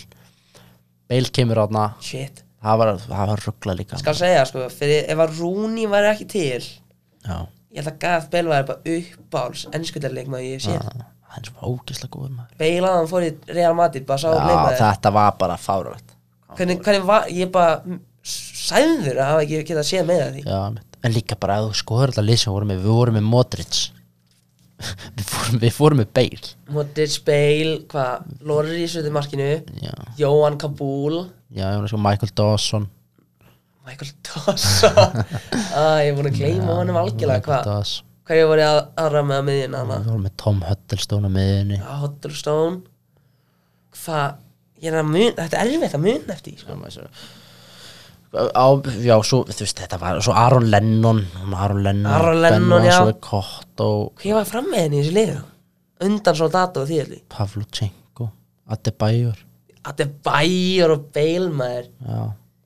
Speaker 6: Bale kemur á þarna
Speaker 5: Shit
Speaker 6: það var, það var ruggla líka
Speaker 5: Skal segja sko Fyrir ef að Rúni var ekki til
Speaker 6: já
Speaker 5: Ég held að Gareth Bale var bara uppáls Ennskuldarleikmaður ég sé
Speaker 6: það er svo ógislega góður maður
Speaker 5: Bale að hann fór í Real Madrid Bara sá
Speaker 6: Já,
Speaker 5: leikmaður
Speaker 6: þetta var bara fáralegt
Speaker 5: hvernig, hvernig var Ég bara mm, Sæður að hafa ekki getað séð með því
Speaker 6: Já, mitt. en líka bara að þú skoður alltaf lið sem vorum með, við vorum með Modric (laughs) við, fórum, við fórum með Bale
Speaker 5: Modric, Bale, hvað, Loris við markinu,
Speaker 6: Já,
Speaker 5: Jóhann Kabul
Speaker 6: já, ég var sko Michael Dawson
Speaker 5: Michael
Speaker 6: (laughs)
Speaker 5: Dawson ah, ég er búin að gleyma honum algjörlega
Speaker 6: Michael
Speaker 5: hvað,
Speaker 6: Dawson.
Speaker 5: hverju voru að, aðra með að miðin hana,
Speaker 6: Við vorum með Tom Huddlestone á miðunni
Speaker 5: Hoddlestone hvað, ég er að mun þetta er erfitt að mun eftir, því, sko
Speaker 6: á, Já, svo, þú veist, þetta var svo Aaron Lennon Aaron Lennon,
Speaker 5: Aaron Lennon,
Speaker 6: Benoit,
Speaker 5: já.
Speaker 6: Svo Kotto,
Speaker 5: hver var fram með henni í þessu liðu undan svo data og því allir
Speaker 6: Pavlochenko Adebayor
Speaker 5: þetta er bæjur og beilmaður
Speaker 6: Já,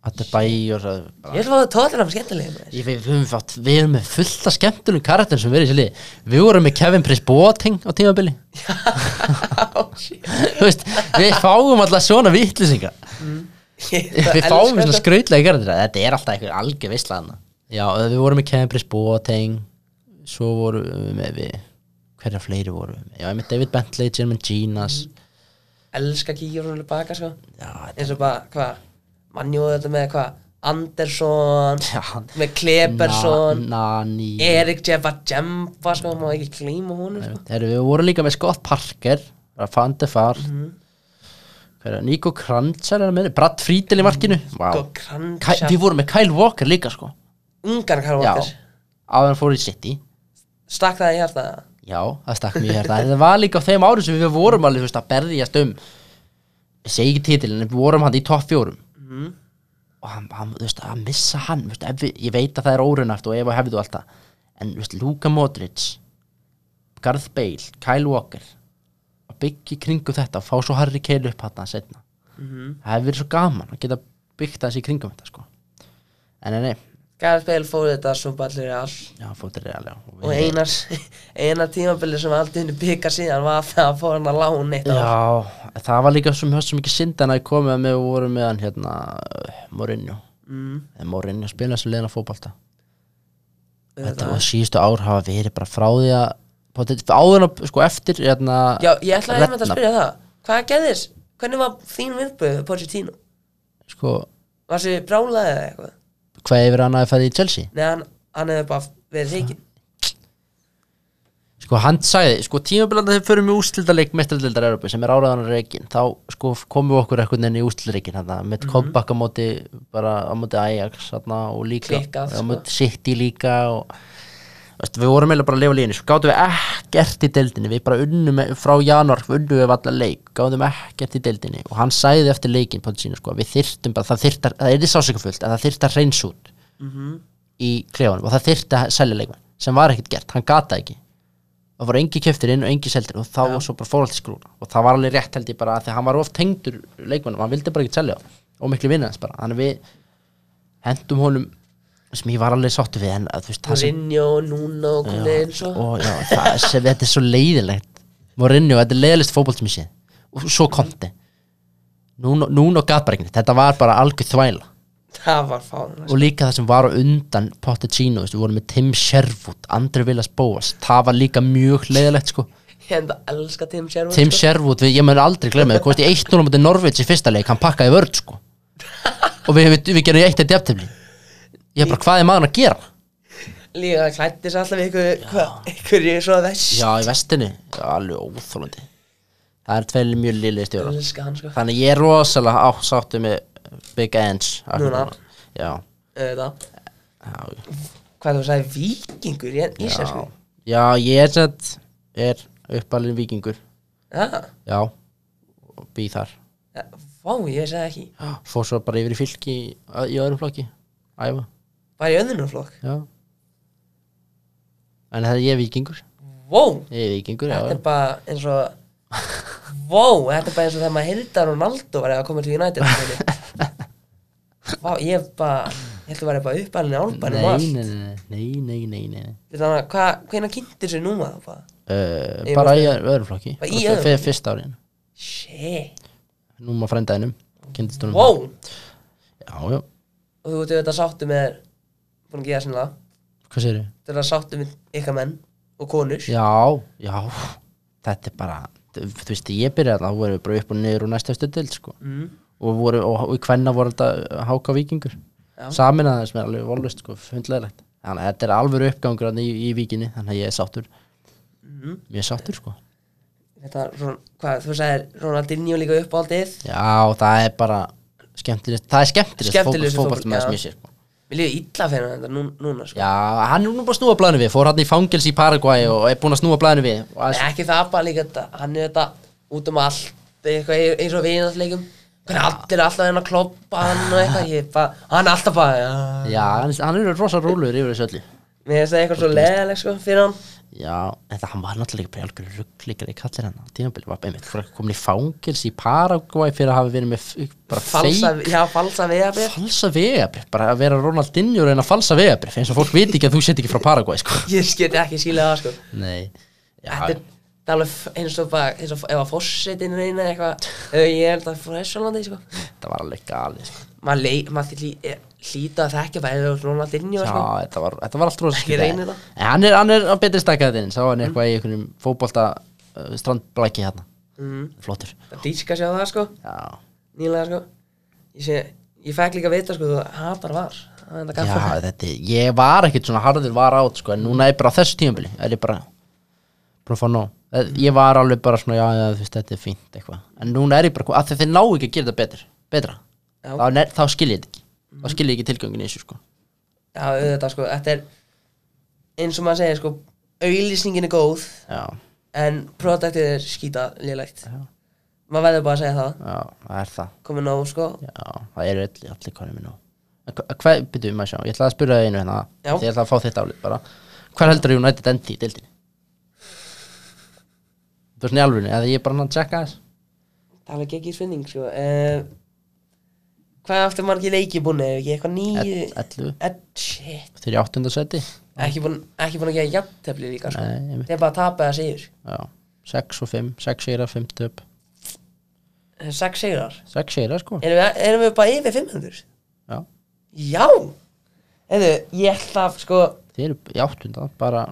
Speaker 6: Adebayor það er bara-
Speaker 5: ég vil fá það tóðlega með skemmtilegum maður.
Speaker 6: Ég veit, við höfum fátt, við erum með fullta skemmtunum karakterin sem við erum í sér liði. Við vorum með Kevin Prince Boateng á tímabili. (laughs)
Speaker 5: Á, shit.
Speaker 6: Þú veist, við fáum alltaf svona vittlýsingar.
Speaker 5: (laughs) Ég
Speaker 6: Við
Speaker 5: bara elska
Speaker 6: fáum svona
Speaker 5: þetta.
Speaker 6: skrautlega karakterin. Þetta er alltaf einhver algjör visslaðana. Já, og við vorum með Kevin Prince Boateng, svo vorum við með við, hverja fleiri vorum við með? Já, ég með David Bentley, Jermaine Ginas.
Speaker 5: Mm. elska kíkjur hún baka sko
Speaker 6: Já, þetta
Speaker 5: eins og bara, hvað mannjóðu þetta með hvað Andersson
Speaker 6: Já.
Speaker 5: með Klebersson
Speaker 6: Na- Nani.
Speaker 5: Erik Jebba Jemba sko, má ekki klíma honum sko.
Speaker 6: Heru, við vorum líka með Scott Parker Van de Fart mm -hmm. Nico Kranzer er að meina Bratt Friedel í markinu
Speaker 5: sko,
Speaker 6: wow. Ky-
Speaker 5: kransja,
Speaker 6: Við vorum með Kyle Walker líka sko
Speaker 5: ungan Karl
Speaker 6: Já,
Speaker 5: Walker
Speaker 6: áður hann fór í City
Speaker 5: stakk það í hjarta
Speaker 6: Já, það stakk mjög hérna Það var líka á þeim árum sem við vorum alveg þú veist, að berðjast um Ég segi ekki titilin en við vorum hann í topp fjórum og hann, hann, þú veist, að missa hann þú veist, ef, við- ég veit að það er órunart og ef og hefðu allt það en þú veist, Luka Modric Garth Bale, Kyle Walker að byggja í kringum þetta og fá svo Harry Kane upp hann setna það hefur verið svo gaman að geta byggt þessi í kringum þetta sko en nei, nei,
Speaker 5: Gareth Bale fór þetta svo ballir all
Speaker 6: já, fóttir er alveg
Speaker 5: og (laughs) einar, einar tímabili sem aldrei henni bygga síðan var það að fór hann að lána eitt ár.
Speaker 6: Já, það var líka sem höfst svo mikið syndan að ég komið að við vorum með hann hérna Mourinho
Speaker 5: mm,
Speaker 6: en Mourinho spilaði sem leiðina fótbalta þetta
Speaker 5: auðvitað.
Speaker 6: og síðustu ár hafa verið bara frá því að pottet- áður en að sko eftir hérna
Speaker 5: já, ég ætlaði einmitt að
Speaker 6: Redknapp.
Speaker 5: spyrja það hvað gerðist, hvernig var þín viðbröð Pochettino,
Speaker 6: sko
Speaker 5: var sér brálaðið eða eitthvað
Speaker 6: hvað yfir hann að fara í Chelsea
Speaker 5: Nei, hann, hann hefur bara verið reygin
Speaker 6: Sko hann sagði, sko tímabilanda þegar við förum í úrslitaleik mestraldildar Európa sem er áraðan á reikin þá sko komum við okkur eitthvað inn í úrslitaleikin hérna, með mm á móti bara á móti Ajax hérna, og líka
Speaker 5: Klikkað,
Speaker 6: á
Speaker 5: sko.
Speaker 6: móti City líka og veist, við vorum eiginlega bara að lifa lífinu, sko gátum við ekkert í deildinni, við bara unnum frá januar, unnum við allar leik gátum ekkert í deildinni og hann sagði eftir leikin Pálsínu, sko, við þyrftum bara það þyrftar, það er sásökafullt, en það þyrftar reyns út í klefanum og það þyrfti að selja leikmenn sem var ekkert gert, hann gata ekki það voru engi keftir inn og engi seldir og þá var svo bara fórhaldi skrúna og það var alveg rétt held ég bara að því að hann var of tengdur leikmennum, hann vildi bara ekki selja þá. og miklu vinna hans bara, þannig að við hendum honum sem ég var alveg sáttu við en að, þú veist, það sem
Speaker 5: Rinja og núna og komið einn svo
Speaker 6: og já, sko. það sem þetta er svo leiðilegt Mourinho, þetta er leiðilegt fótbolt sem ég sé og svo Conte Núna núna og Gabregni, þetta var bara algjör þvæla
Speaker 5: Það var fána sko.
Speaker 6: og líka það sem var á undan Pochettino, þú veist, við vorum með Tim Sherwood Andri Villas Bóas, það var líka mjög leiðilegt sko,
Speaker 5: Ég enda elska Tim Sherwood
Speaker 6: Tim
Speaker 5: sko.
Speaker 6: Sherwood við, ég mun aldrei glemma, það komst í 1-0 mútið Norvits í fyrsta leik, hann pakkaði vörð sko og við, við, við gerum eitt eitt jafntefli ég bara, hvað er maður að gera?
Speaker 5: Líka það klætti sér alltaf ykkur hvað- Ykkur er svo þess
Speaker 6: Já, í vestinni, Já, alveg óþólandi það er tveil mjög liðlega stjóra
Speaker 5: Elska hann sko
Speaker 6: þannig að ég er rosalega ásáttu með Big Ends
Speaker 5: Núna.
Speaker 6: já,
Speaker 5: Það
Speaker 6: já,
Speaker 5: Hvað þú sagði vikingur í í sér sko
Speaker 6: já ég er sett er uppalinn vikingur
Speaker 5: Já
Speaker 6: já, og býð þar
Speaker 5: Já, Ah, Vá, ég sagði ekki
Speaker 6: fór svo bara yfir í fylki í, í öðrum flokki æfa,
Speaker 5: Bara í öðnunum flokk
Speaker 6: já en það er ég er vikingur
Speaker 5: Vó,
Speaker 6: ég er vikingur, já,
Speaker 5: þetta er
Speaker 6: já
Speaker 5: bara eins og Vó, þetta er bara eins og þegar maður heyrði að Ronaldo var að koma til United Vá, ég er bara Ég held að vera bara uppalinn í álbanum og
Speaker 6: nei,
Speaker 5: allt.
Speaker 6: nei, nei, nei, nei, nei, nei, nei.
Speaker 5: Þetta er þannig að hvenær kynntir sér núna þá bara?
Speaker 6: Uh,
Speaker 5: Í
Speaker 6: bara í öðrum flokki
Speaker 5: Bara í öðrum flokki?
Speaker 6: fyrst árin
Speaker 5: Shit,
Speaker 6: núma frændaðinum kynntist honum
Speaker 5: wow
Speaker 6: já, já,
Speaker 5: Og þú veitur þetta sáttu með Búin að geða sinna það
Speaker 6: hvað segir þau?
Speaker 5: Þetta sáttu með ykkar menn og konur
Speaker 6: Já, já Þetta er bara, þú veist, ég byrjaði þarna, þá voru við bara upp og niður og næstu eftir dild sko. mm. og, voru, og, og í hvenna voru þetta háka vikingur saminaði sem er alveg volust sko, hundlegilegt þannig að þetta er alveg uppgangur þarna í, í vikinni þannig að ég er sáttur
Speaker 5: Mm.
Speaker 6: ég er sáttur sko
Speaker 5: Þetta, Ron- hvað, þú sagðir Ronaldinho líka upp á aldið
Speaker 6: Já, það er bara skemmtilegst það er skemmtilegst
Speaker 5: Skemmtilegasti
Speaker 6: fótboltmaður sem
Speaker 5: fótbolti,
Speaker 6: ég sé sko.
Speaker 5: Mér líður illa fyrir þetta nú, núna sko.
Speaker 6: Já, hann er nú bara að snúa blæðinu við fór hann í fangels í Paraguay og er búin að snúa blæðinu við og
Speaker 5: Nei,
Speaker 6: aðeins-
Speaker 5: Ekki það bara líka þetta Hann er þetta út um allt eitthvað, e- eins og vinatleikum Hvernig allir er alltaf henn að kloppa hann og eitthvað ég, ba, Hann er alltaf bara ja.
Speaker 6: Já, hann, hann er rosa rólur yfir þessu öllu
Speaker 5: Mér finnst það eitthvað svo leðaleg sko, fyrir hann
Speaker 6: Já, en það hann var náttúrulega bara algjör ruggleikari kallir hann á tímabili var einmitt fór að komin í fangils í Paraguay fyrir að hafa verið með f- bara
Speaker 5: Falsa,
Speaker 6: feik
Speaker 5: já, falsa vegabrið
Speaker 6: falsa vegabrif, bara að vera Ronaldinho og reyna að falsa vegabrif eins og fólk veit ekki að þú set ekki frá Paraguay sko.
Speaker 5: (laughs) Ég sketi ekki sílega það sko
Speaker 6: Nei,
Speaker 5: Þetta
Speaker 6: já,
Speaker 5: er það er alveg f- eins og bara eins og f- ef að fórsetin reyna eitthvað ef ég held að frá Þessalandi sko
Speaker 6: þetta var alveg galið sko.
Speaker 5: maður lei, maður lí, eh, hlýta að þekka bara eða Ronaldinho
Speaker 6: Já,
Speaker 5: sko
Speaker 6: þetta var, þetta var allt rosa
Speaker 5: Ekki
Speaker 6: skrítið.
Speaker 5: reyni það. Mm.
Speaker 6: En hann er, hann er á betri stakkaðin Sá hann eitthvað í einhvernum fótbolta uh, strandblæki hérna mm. Flottur
Speaker 5: það dýska sér á það sko
Speaker 6: Já,
Speaker 5: nýlega sko ég, sé, ég fekk líka að vita sko þú hatar var það er það
Speaker 6: Já,
Speaker 5: gafur
Speaker 6: þetta, er- ég var ekkert svona harður var át, sko, en núna er bara á þessu tímabili er ég bara, bara að fá nóg Eh, ég var alveg bara svona, já, já, þú veist, þetta er fínt eitthvað, en núna er ég bara, að þeir ná ekki að gera þetta betur, betra
Speaker 5: Já.
Speaker 6: þá, ne- þá skil ég þetta ekki, þá skil ég ekki tilgöngin í þessu, sko,
Speaker 5: já auðvitað sko þetta er eins og maður segir sko auðlýsningin er góð
Speaker 6: já,
Speaker 5: en produktið er skýta lélegt maður verður bara að segja það
Speaker 6: já, það er það
Speaker 5: komið nóg sko
Speaker 6: já, það eru allir, allir konum minn og hvað, byrjuðu maður sjá, ég ætla að spyrja það einu hérna,
Speaker 5: Já.
Speaker 6: því ég ætla að fá þetta álið bara hver heldur að United endi í deildinni þú veist, njálfunni, eða ég er bara að tjekka þess
Speaker 5: það er alveg ekki svinning sko uh, hvað aftur margir leiki búin ef ekki eitthvað nýju
Speaker 6: Ell- ellefu.
Speaker 5: Ell- shit
Speaker 6: þeir eru í áttundasæti
Speaker 5: ekki búin, ekki búin að gera jafntefli líka sko.
Speaker 6: Nei, einmitt.
Speaker 5: það er bara að tapa eða sigur
Speaker 6: Já, 6 og 5, 6 sigra, 5 töp
Speaker 5: Eh, sex sigrar
Speaker 6: 6 sigra sko
Speaker 5: erum við, erum við bara yfir 500
Speaker 6: Já,
Speaker 5: já Eðu, ég ætla að sko
Speaker 6: þeir eru í áttunda bara,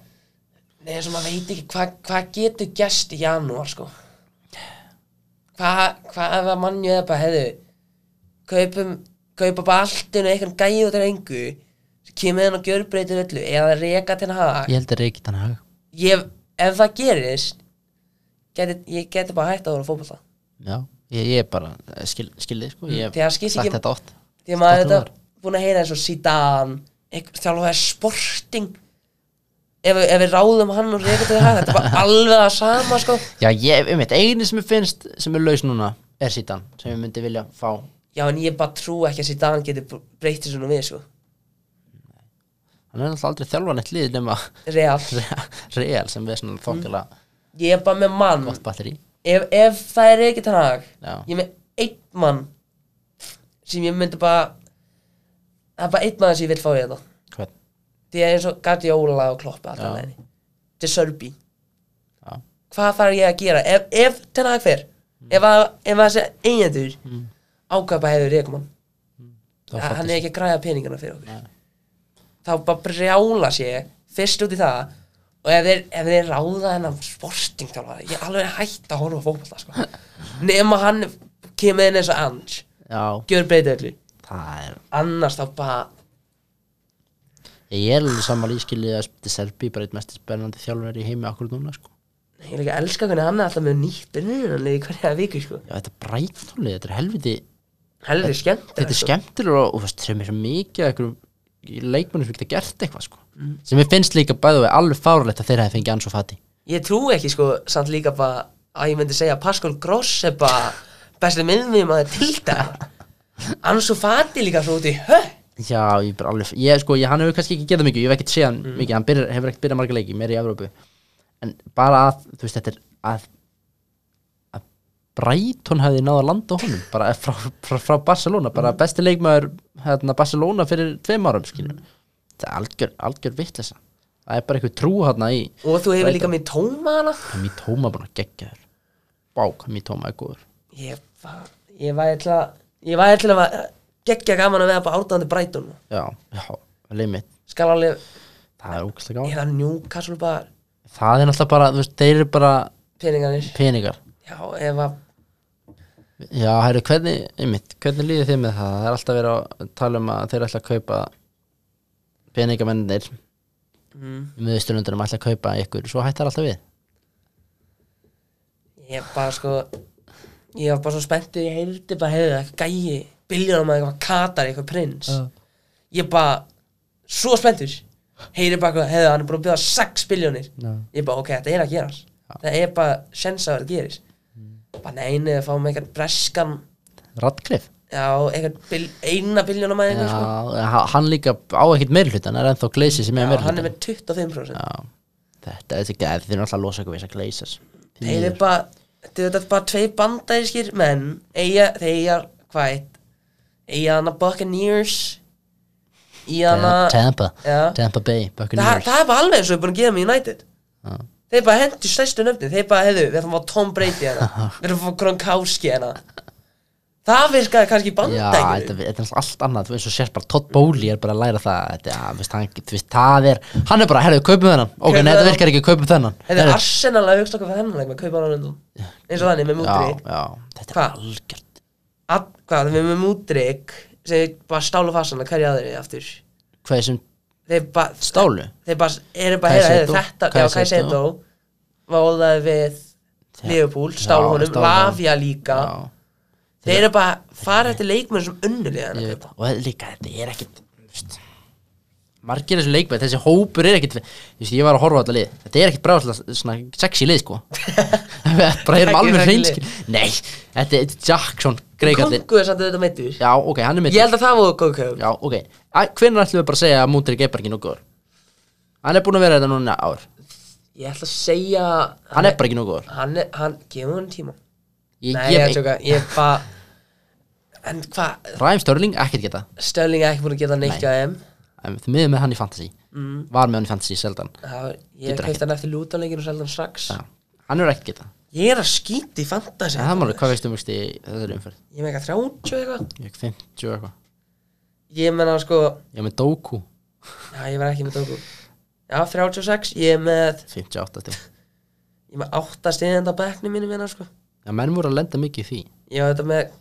Speaker 5: Nei, þess að maður veit ekki hvað hva getur gæst í janúar sko hvað hva ef að mannju eða bara hefðu kaupum, kaupa bara allt inn og eitthvað gæði út af engu sem kemur hann og gjörbreytir öllu eða reka til haga
Speaker 6: ég held að reykja þannig hag
Speaker 5: ég, ef það gerist geti, ég geti bara hægt að vera fótbolta
Speaker 6: Já, ég, ég er bara eh, skil, skilði sko, ég
Speaker 5: Þegar
Speaker 6: hef
Speaker 5: skil
Speaker 6: sagt
Speaker 5: ekki-
Speaker 6: þetta oft
Speaker 5: því að maður
Speaker 6: Stolt
Speaker 5: þetta
Speaker 6: maður.
Speaker 5: búin að heyra eins og Zidane einhver þjálfaði sporting ef, ef við ráðum hann og reyðum til það þetta er bara alveg að sama sko
Speaker 6: Já, ég, um einu sem ég finnst sem er laus núna er sítan sem ég myndi vilja fá
Speaker 5: já en ég bara trú ekki að Zidane geti breytið svona við sko
Speaker 6: hann er náttúrulega aldrei þjálfan eitt lið nema (laughs)
Speaker 5: real
Speaker 6: real sem
Speaker 5: Mm.
Speaker 6: við svona þokkilega
Speaker 5: ég er bara með mann
Speaker 6: gott batteri
Speaker 5: ef, ef það er ekki þannig
Speaker 6: Já.
Speaker 5: ég er með einn mann sem ég myndi bara það er bara einn mann sem ég vil fá í þetta
Speaker 6: Hvern?
Speaker 5: því að eins og Guardiola og Klopp
Speaker 6: Já.
Speaker 5: alltaf leði til Sörbi
Speaker 6: Já. Mm.
Speaker 5: hvað þarf ég að gera ef, ef þannig fer ef, að, ef að þessi eiginendur mm. ákvæpa hefur reykumann
Speaker 6: Þá
Speaker 5: Að hann er
Speaker 6: fæddist-
Speaker 5: ekki að græða peningana fyrir okkur þá bara brjála sér fyrst út í það og ef þeir, ef þeir ráða hennan sporting þá var ég er alveg hætt að horfa á fótbolta
Speaker 6: (laughs)
Speaker 5: sko. nema hann kemur inn eins og Ange
Speaker 6: Já,
Speaker 5: gjör breytið öllu
Speaker 6: það er
Speaker 5: annars þá bara
Speaker 6: Ég er alveg saman ískilið að þetta Serbi bara eitt mest spennandi þjálfur í heimi akkur núna sko
Speaker 5: ég er ekki að elska hvernig hann er alltaf með nýtt byrjunanlega í hverja viku sko.
Speaker 6: Já, þetta er brætnálið, þetta er helviti
Speaker 5: helvið skemmt
Speaker 6: þetta er skemmtilega og, og þú veist, sem er svo mikið af einhverjum leikmennum sem geta gert eitthvað sko. sem ég finnst líka bæðu við alveg fárlegt að þeir hefði fengið ansvo fati
Speaker 5: ég trú ekki sko samt líka bara að ég myndi segja að Pascal Gross er bara besti minnum að til þetta Ansu Fati líka svo út í höf
Speaker 6: Já, ég bara alveg, ég sko, ég, hann hefur kannski ekki getað mikið, ég hef ekkert séð hann mikið, hann byrjar, hefur ekkert byrjað marga leiki, meira í Evrópu en bara að, þú veist, þetta er að að Brighton hefði náða land á honum, bara frá, frá, frá Barcelona, bara besti leikmaður hérna Barcelona fyrir tveim árum skiljum, það er algjör, algjör vitleysa, það er bara eitthvað trú hérna í
Speaker 5: Og þú hefur
Speaker 6: Brighton.
Speaker 5: líka með tóma hana
Speaker 6: Mí Tóma búin að gegja þér Vá, hvað Mí Tóma er góður
Speaker 5: Ég, var- ég væri til að Ég væri til að va- geggja gaman að veða bara árdáðandi Brighton
Speaker 6: Já, já, limit
Speaker 5: Skal alveg
Speaker 6: Það er ógæslega
Speaker 5: Ég
Speaker 6: gáð
Speaker 5: það Newcastle bara
Speaker 6: Það er náttúrulega bara, þú veist, þeir eru bara
Speaker 5: peningarnir
Speaker 6: peningar
Speaker 5: Já, ef að
Speaker 6: Já, hæru, hvernig, einmitt, hvernig líður þið með það? Það er alltaf verið að tala um að þeir ætla að kaupa peningamennir mm. miðusturlundunum ætla að kaupa ykkur svo hættar alltaf við
Speaker 5: Ég bara sko Ég var bara svo spenntur Ég heyrði bara hefði það gæi Biljónum að eitthvað katar eitthvað prins Ég bara Svo spenntur Heyri bara eitthvað Hefði hann er búin að bjóða 6 biljónir
Speaker 6: Já.
Speaker 5: Ég bara ok, þetta er að gerast Það er bara sens að þetta gerist
Speaker 6: Mm.
Speaker 5: Bara neini, við fáum eitthvað breskan
Speaker 6: Radcliffe?
Speaker 5: Já, eitthvað bil, eina biljónamæðing
Speaker 6: Já,
Speaker 5: sko.
Speaker 6: ha- hann líka á ekkert meirhlutan, hann er ennþá gleysi sem er
Speaker 5: Já, hann er
Speaker 6: meirhlutan
Speaker 5: með 25%
Speaker 6: Já, þetta er þetta, þeir eru alltaf að losa ykkur við þess að gleysas
Speaker 5: Þeir eru bara Þetta er þetta bara tvei bandæriskir menn eiga, Þeir eiga hvað eitt Eiga hana Buccaneers Í hana
Speaker 6: Tampa,
Speaker 5: Já.
Speaker 6: Tampa Bay
Speaker 5: það,
Speaker 6: Buccaneers
Speaker 5: það er bara alveg eins og við búin að gera með United
Speaker 6: Já.
Speaker 5: Þeir bara hendur stærstu nöfnin Þeir bara, heyrðu, við ætlum að fá Tom Brady
Speaker 6: (laughs)
Speaker 5: hana Við ætlum að fá Gronkowski hana Það virkaði kannski í
Speaker 6: Já, þetta,
Speaker 5: bandækjunum
Speaker 6: þetta er náttúrulega allt annað, þú veist og sérst bara Todd Bowley er bara að læra það þetta, ja, veist, hann, þú veist, það er, hann er bara, herðu, kaupum þennan ok,
Speaker 5: Kaupum
Speaker 6: nei, þetta
Speaker 5: þennan.
Speaker 6: virkar ekki, kaupum þennan
Speaker 5: Þetta er
Speaker 6: Heyrðu,
Speaker 5: Arsenal að hugsa okkur fyrir þennan leik með kaupa hann á undan eins og þannig með mútri
Speaker 6: já, já, þetta
Speaker 5: Hva?
Speaker 6: er algjört
Speaker 5: að, hvað, við með mútrik sem við bara stálu fastan að hverja aðri aftur
Speaker 6: hvað er sem
Speaker 5: þeir bara
Speaker 6: stálu?
Speaker 5: þeir bara eru bara heyra, heyra,
Speaker 6: Caicedo,
Speaker 5: þetta já,
Speaker 6: Caicedo.
Speaker 5: Caicedo váðaði við
Speaker 6: Já.
Speaker 5: Liverpool, stálu
Speaker 6: Já,
Speaker 5: honum,
Speaker 6: stálu honum.
Speaker 5: Lavia líka
Speaker 6: Já,
Speaker 5: þeir eru bara fara eftir leikmenn sem unnulega
Speaker 6: ég
Speaker 5: hann
Speaker 6: veit, og þetta líka, þetta er ekkit þú veist, margir þessu leikmenn, þessi hópur er ekkit þú veist, ég var að horfa á þetta lið, þetta er ekkit bráðslega svona sexy lið,
Speaker 5: (laughs)
Speaker 6: sko bara erum
Speaker 5: Ekki
Speaker 6: alveg
Speaker 5: sexy
Speaker 6: hreinskil
Speaker 5: lið.
Speaker 6: nei, þetta er Jackson, greikallir
Speaker 5: kongu er samt auðvitað meittur
Speaker 6: já, ok, hann er mitt
Speaker 5: ég held að það voru góð kaup
Speaker 6: Já, ok. Hvernig ætlum við bara að segja að Múndrik er bara ekki nóg góður? Hann er búin að vera þetta núna ár.
Speaker 5: ég ætla að segja
Speaker 6: Hann er bara ekki nóg góður.
Speaker 5: hann, er- hann gefur hann tíma
Speaker 6: Ég,
Speaker 5: nei, ég, ég, ég, ég bara en hvað,
Speaker 6: Ræm Störling, ekkert geta.
Speaker 5: Stölling er ekki búin að geta neitt hjá þeim
Speaker 6: En Þið miður með hann í fantasy.
Speaker 5: Mm.
Speaker 6: Var með hann í fantasy seldan.
Speaker 5: Það var- ég
Speaker 6: Getur
Speaker 5: kaupt hann eftir lútanleikin og seldi hann strax
Speaker 6: Já. Hann er ekkert geta.
Speaker 5: Ég er að skýta í fantasy
Speaker 6: En það máli, hvað veistu um í þessari umferð?
Speaker 5: Ég með eitthvað 30 eitthvað
Speaker 6: Ég ekki 50 og eitthvað.
Speaker 5: Ég menna sko,
Speaker 6: Ég er með Doku.
Speaker 5: já ég var ekki með Doku Já 36, ég er með
Speaker 6: 58 til.
Speaker 5: Ég er með 8 stiðenda á bekknum mínu minna sko
Speaker 6: Já, menn voru að lenda mikið í því.
Speaker 5: Ég var þetta með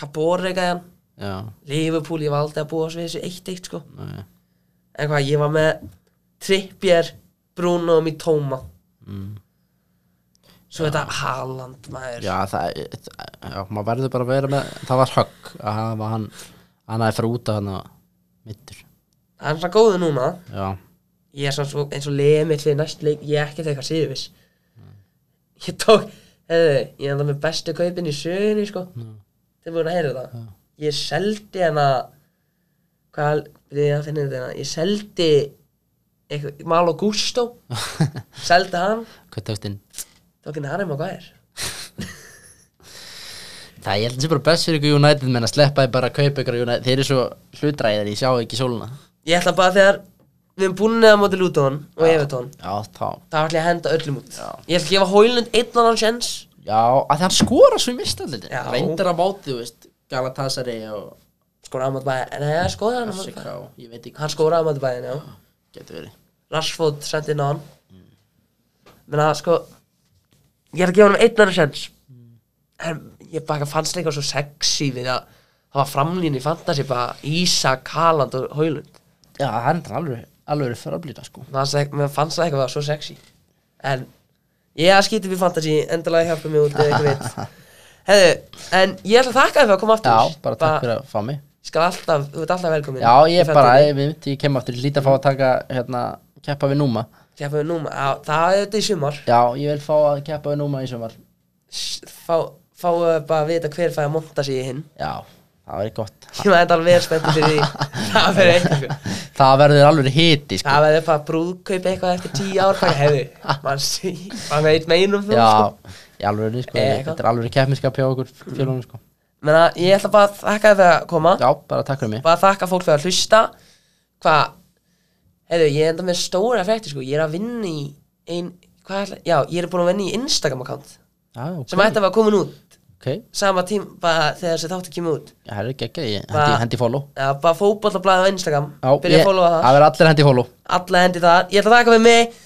Speaker 5: Kaborregaðan
Speaker 6: Já.
Speaker 5: Liverpool, ég var aldrei að búa svo við þessu eitt eitt sko
Speaker 6: Nei.
Speaker 5: En hvað, ég var með Trippier, Bruno og Mitoma Svo þetta Haaland maður
Speaker 6: Já, það, já, maður verður bara að vera með Það var högg að hafa hann hann aðeins fyrir út að hann mittur
Speaker 5: Hann er svo góðu núna
Speaker 6: Já,
Speaker 5: Ég er svona svo, eins og leiði mig fyrir næst leik Ég er ekkert eitthvað síðvis Ég tók, hefðu, ég er það með bestu kaupin í sögunni sko Þið búin að heyra það Ég seldi hana Hvað, við ég að finna þetta hana Ég seldi eitthvað, Malo Gusto Seldi hann,
Speaker 6: hvað tókst inn
Speaker 5: tók henni hann um að hvað er
Speaker 6: Það ég held að sé bara best fyrir ykkur United menn að sleppa þið bara að kaupa ykkur United Þeir eru svo hlutræðir, ég sjá ekki sóluna
Speaker 5: Ég ætla bara þegar við erum búin neða móti Luton og Everton
Speaker 6: Já, þá
Speaker 5: þá ætla ég að henda öllum út Ég ætla að gefa Hólund einn annan sjens
Speaker 6: Já, að því hann skora svo í mistallildin
Speaker 5: Já.
Speaker 6: Reyndar að móti, þú veist Galatasaray og
Speaker 5: Skoraði að móti bæðin Nei, hann skoraði hann að móti
Speaker 6: FCK
Speaker 5: bæðin
Speaker 6: Ég veit ekki
Speaker 5: Hann skoraði að móti bæðin, já
Speaker 6: getur verið
Speaker 5: Rashford sendi inn á hann Menna, sko Ég ætla að gefa hann einn annan sjens En ég bara fannst eitthvað svo sexy við að það var framlínu í fantasy bara Ísak, Haaland og Hólund
Speaker 6: Já, það er þetta alveg, alveg verið fráblýta sko
Speaker 5: Mér fannst það- mér fannst það eitthvað að það var svo sexy En ég að skýti fyrir fantasy Endalega hjálpa mig út eða eitthvað
Speaker 6: (laughs)
Speaker 5: veit Hefðu, en ég ætla að þakka þér fyrir að koma aftur
Speaker 6: Já, bara takk fyrir að fá mig
Speaker 5: Ég skal alltaf, þú ert alltaf velkomin
Speaker 6: Já, ég bara, ég veit, ég kem aftur, ég líti að fá að taka, hérna, keppa við núma
Speaker 5: Keppa við núma, á, það er þetta í sumar
Speaker 6: Já, ég vil fá að keppa við núma í sumar
Speaker 5: S- Fá, fáu bara að vita hver fæ að monta sig í hinn (laughs)
Speaker 6: Já, það verður gott (laughs)
Speaker 5: Ég maður þetta alveg verið spenntur fyrir því Það fyrir eitthvað
Speaker 6: Það verður alveg hiti, sko
Speaker 5: Það verður bara brúðkaup eitthvað eftir tíu ár Hvað hefði, mann sí Mann veit meinum þú sko
Speaker 6: Já, í alveg, sko,
Speaker 5: Eh,
Speaker 6: þetta er alveg keppniskap hjá okkur fjölunum, sko
Speaker 5: Menna, ég ætla bara að þakka þér fyrir að koma
Speaker 6: Já, bara takk fyrir mig
Speaker 5: Bara að þakka fólk fyrir að hlusta Hvað, hefðu, ég er enda með stóra frétti sko Ég er að vinna í ein, hvað ætla, já, ég er búin að vinna í Instagram account
Speaker 6: Já, ok,
Speaker 5: Sem ætti að vera komin út
Speaker 6: ok,
Speaker 5: sama tím bara þegar þessi þáttu kemur út
Speaker 6: það er ekki ekki, ég
Speaker 5: Bara-
Speaker 6: hendi, hendi follow
Speaker 5: Já, bara fótboltablaðið á Instagram
Speaker 6: Já,
Speaker 5: Byrja
Speaker 6: ég-
Speaker 5: að followa
Speaker 6: það
Speaker 5: það
Speaker 6: verður allir hendi follow
Speaker 5: Alla hendi þar Ég ætla að taka við mig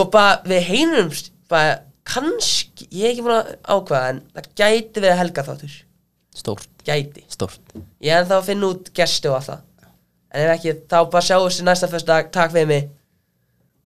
Speaker 5: Og bara við heyrumst Bara kannski Ég er ekki búin að ákvaða En það gæti verið helga þáttur
Speaker 6: Stórt,
Speaker 5: Gæti
Speaker 6: stórt
Speaker 5: Ég er ennþá að finna út gesti og allt það En ef ekki Þá bara sjáum við sér næsta fyrst dag Takk fyrir mig